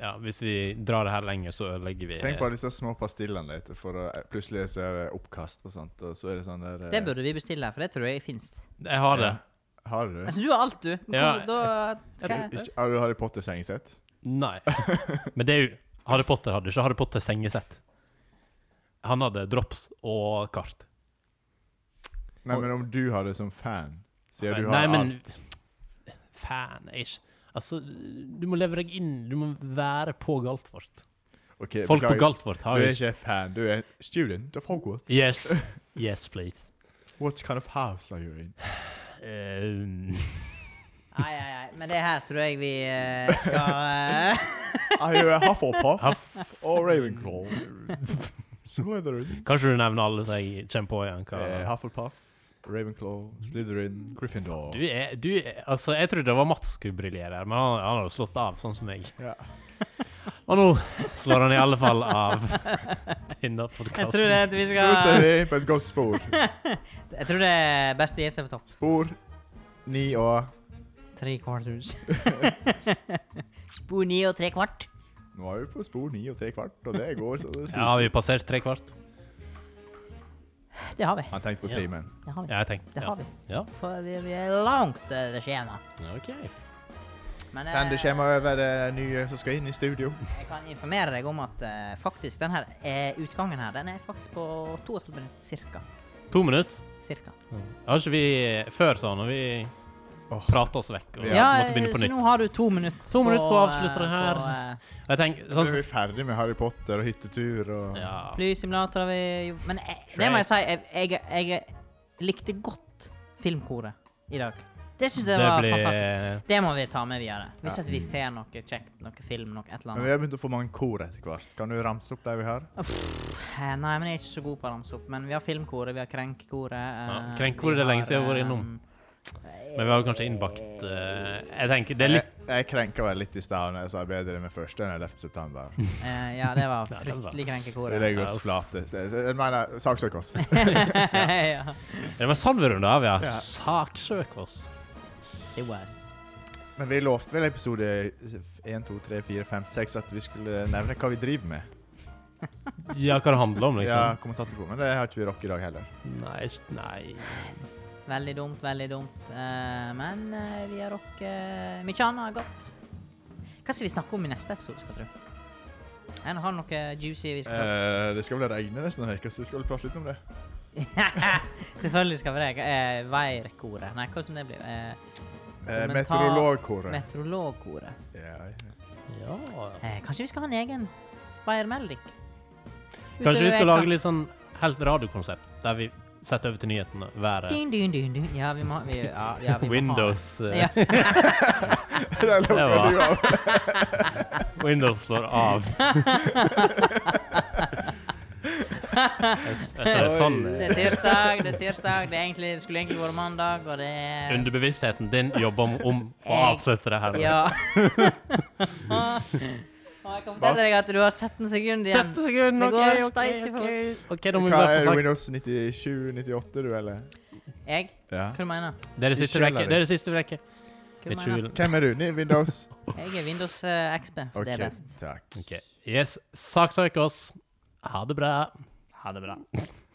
[SPEAKER 1] ja, hvis vi drar det her lenger, så ødelegger vi
[SPEAKER 3] Tenk på disse små pastillene litt, for å, eh, plutselig så er det oppkast og sånt. Og så er det sånn der eh,
[SPEAKER 2] Det burde vi bestille, for det tror jeg finnes.
[SPEAKER 1] Jeg har det.
[SPEAKER 3] Har du?
[SPEAKER 2] Altså, du har alt, du. Men
[SPEAKER 1] Ja.
[SPEAKER 2] hvor- Da,
[SPEAKER 1] Jeg-
[SPEAKER 2] hva?
[SPEAKER 3] Ikke, har du Harry Potter-sengesett?
[SPEAKER 1] Nei. Men det er jo Harry Potter hadde ikke Harry Potter sengesett. Han hadde drops og kart.
[SPEAKER 3] Nei, men om du har det som fan, siden du har
[SPEAKER 1] Nei, men-
[SPEAKER 3] alt
[SPEAKER 1] Fan, jeg er ikke Altså, du må leve deg inn. Du må være på Galtvort.
[SPEAKER 3] Ok,
[SPEAKER 1] Folk på
[SPEAKER 3] beklager.
[SPEAKER 1] Galtvort har
[SPEAKER 3] Du
[SPEAKER 1] jo
[SPEAKER 3] er
[SPEAKER 1] ikke
[SPEAKER 3] ikke fan, du er student of Hogwarts.
[SPEAKER 1] Yes. Yes, please.
[SPEAKER 3] What kind of house are you in?
[SPEAKER 1] Um,
[SPEAKER 2] Nei, nei, nei. Men det her tror jeg vi eh, skal eh,
[SPEAKER 3] Are you a Hufflepuff
[SPEAKER 1] Huff.
[SPEAKER 3] or Ravenclaw? Slytherin.
[SPEAKER 1] Kanskje du nevner alle som jeg kommer på igjen?
[SPEAKER 3] Eh,
[SPEAKER 1] Hva?
[SPEAKER 3] Hufflepuff, Ravenclaw, Slytherin, Gryffindor.
[SPEAKER 1] Du er, du er, altså, jeg trodde det var Mats skulle briljere, men han, han har jo slått av, sånn som meg.
[SPEAKER 3] Ja.
[SPEAKER 1] Og nå slår han i alle fall av
[SPEAKER 2] Jeg tror det
[SPEAKER 1] Tinder-podkasten.
[SPEAKER 2] at vi
[SPEAKER 3] Nå ser
[SPEAKER 2] skal
[SPEAKER 3] vi på et godt spor.
[SPEAKER 2] Jeg tror det er best å gi seg på topp.
[SPEAKER 3] Spor ni og
[SPEAKER 2] Tre quarters. Spor ni og tre kvart.
[SPEAKER 3] Nå er vi på spor ni og tre kvart, og det går så det suser.
[SPEAKER 1] Ja, har vi passert tre kvart?
[SPEAKER 2] Det har vi.
[SPEAKER 3] Han tenkte på
[SPEAKER 1] Ja.
[SPEAKER 3] timen.
[SPEAKER 2] Det har vi.
[SPEAKER 1] Ja, jeg tenkte
[SPEAKER 2] Det
[SPEAKER 1] ja.
[SPEAKER 2] har vi.
[SPEAKER 1] Ja,
[SPEAKER 2] For vi, vi er langt over skjemaet.
[SPEAKER 1] OK.
[SPEAKER 2] Men, eh,
[SPEAKER 3] Send det skjema over eh, nye som skal inn i studio.
[SPEAKER 2] Jeg kan informere deg om at eh, faktisk den her eh, utgangen her, den er faktisk på to og et halvt minutt, cirka.
[SPEAKER 1] To minutter.
[SPEAKER 2] Cirka.
[SPEAKER 1] Har ikke vi Før sa når vi
[SPEAKER 3] Åh.
[SPEAKER 1] prata oss vekk og
[SPEAKER 3] Ja,
[SPEAKER 1] måtte begynne på
[SPEAKER 2] så
[SPEAKER 1] nytt.
[SPEAKER 2] nå har du to minutter
[SPEAKER 1] To minutter på å avslutte
[SPEAKER 2] eh,
[SPEAKER 1] det her.
[SPEAKER 2] på, eh,
[SPEAKER 1] Jeg tenker
[SPEAKER 3] Nå er vi
[SPEAKER 1] sånn
[SPEAKER 3] ferdig med Harry Potter og hyttetur og
[SPEAKER 1] ja.
[SPEAKER 2] Flysimulator har vi gjort Men jeg, det må jeg si, jeg, jeg, jeg likte godt filmkoret i dag. Det syns jeg
[SPEAKER 1] det
[SPEAKER 2] var
[SPEAKER 1] blir
[SPEAKER 2] fantastisk. Det må vi ta med videre. Hvis
[SPEAKER 3] Ja.
[SPEAKER 2] at vi ser noe kjekt, noe film, noe et eller
[SPEAKER 3] Men
[SPEAKER 2] annet.
[SPEAKER 3] vi har begynt å få mange kor etter hvert. Kan du ramse opp de vi har?
[SPEAKER 2] Eh, Nei, men jeg er ikke så god på å ramse opp. Men vi har Filmkoret, vi har Krenkekoret. eh,
[SPEAKER 1] Ja, Krenkekoret, det er
[SPEAKER 2] vi
[SPEAKER 1] lenge siden jeg har vært innom. Men vi har kanskje innbakt eh, Jeg tenker det er litt
[SPEAKER 3] Jeg, jeg krenka vel litt i stad når jeg sa bedre med første enn 11. september.
[SPEAKER 2] eh, eh, Ja, det
[SPEAKER 1] Ja,
[SPEAKER 2] var
[SPEAKER 1] det var-
[SPEAKER 2] fryktelig
[SPEAKER 3] Vi
[SPEAKER 2] Krenkekoret.
[SPEAKER 3] legger oss flate. Så- så- Jeg mener, saksøk oss.
[SPEAKER 2] ja.
[SPEAKER 1] Det var en salverunde av, ja.
[SPEAKER 3] Ja.
[SPEAKER 1] Saksøk oss.
[SPEAKER 2] Siwas.
[SPEAKER 3] Men vi lovte vel i episode 1, 2, 3, 4, 5, 6 at vi skulle nevne hva vi driver med.
[SPEAKER 1] Ja, hva det handler
[SPEAKER 3] Ja,
[SPEAKER 1] om, liksom.
[SPEAKER 3] kommentatorkor. Men det har ikke vi rock i dag heller.
[SPEAKER 1] Nei, ikke- nei
[SPEAKER 2] Veldig dumt, veldig dumt. Eh, men eh, vi har rock eh, mye annet godt. Hva skal vi snakke om i neste episode, skal tro? En har noe juicy vi skal
[SPEAKER 3] Eh, det skal vel regne nesten en uke, så vi skal vel prate litt om det.
[SPEAKER 1] Eh.
[SPEAKER 2] ta Selvfølgelig skal vi det. Eh, Veirkoret. Nei, hva som det blir? Eh,
[SPEAKER 3] Eh,
[SPEAKER 2] Kommentar-
[SPEAKER 3] Meteorologkoret.
[SPEAKER 2] Meteorologkoret.
[SPEAKER 3] Ja, ja.
[SPEAKER 1] Ja
[SPEAKER 2] Eh, kanskje vi skal ha en egen værmelding?
[SPEAKER 1] Kanskje vi skal lage litt sånn helt radiokonsept, der vi setter over til nyhetene været
[SPEAKER 2] dun, dun, dun, dun. Ja, vi må, vi, ja, ja, vi må
[SPEAKER 1] Windows
[SPEAKER 2] Ha.
[SPEAKER 1] eh,
[SPEAKER 2] Ja.
[SPEAKER 3] Det lukker
[SPEAKER 1] var-
[SPEAKER 3] du av.
[SPEAKER 1] Windows slår av. Jeg- jeg ser det sånn.
[SPEAKER 2] Det er tirsdag, det er tirsdag. Det er egentlig, det skulle egentlig vært mandag, og det er
[SPEAKER 1] Underbevisstheten din jobber om, om å
[SPEAKER 2] Jeg-
[SPEAKER 1] avslutte det her.
[SPEAKER 2] Eh. Ja. Og jeg kan fortelle deg at du har 17 sekunder igjen.
[SPEAKER 1] 70 sekunder,
[SPEAKER 2] Det
[SPEAKER 1] OK,
[SPEAKER 2] går
[SPEAKER 1] OK.
[SPEAKER 2] steit i
[SPEAKER 1] OK, Ok, da må vi
[SPEAKER 3] Hva er
[SPEAKER 1] bare få
[SPEAKER 3] det,
[SPEAKER 1] sagt
[SPEAKER 3] Windows 97, 98, du, eller?
[SPEAKER 2] Jeg?
[SPEAKER 3] Ja.
[SPEAKER 2] Hva du mener
[SPEAKER 1] Det er det siste vi rekker.
[SPEAKER 3] Ikke
[SPEAKER 1] Det er det siste vi rekker.
[SPEAKER 2] Hva du?
[SPEAKER 1] Litt
[SPEAKER 2] mener?
[SPEAKER 1] skjul.
[SPEAKER 3] Hvem er du? Ni- Windows?
[SPEAKER 2] Jeg er Windows eh, XP. Det
[SPEAKER 3] Ok,
[SPEAKER 2] er best.
[SPEAKER 3] Takk.
[SPEAKER 1] Ok. Yes, saksøk oss. Ha det bra.
[SPEAKER 2] Ha det bra.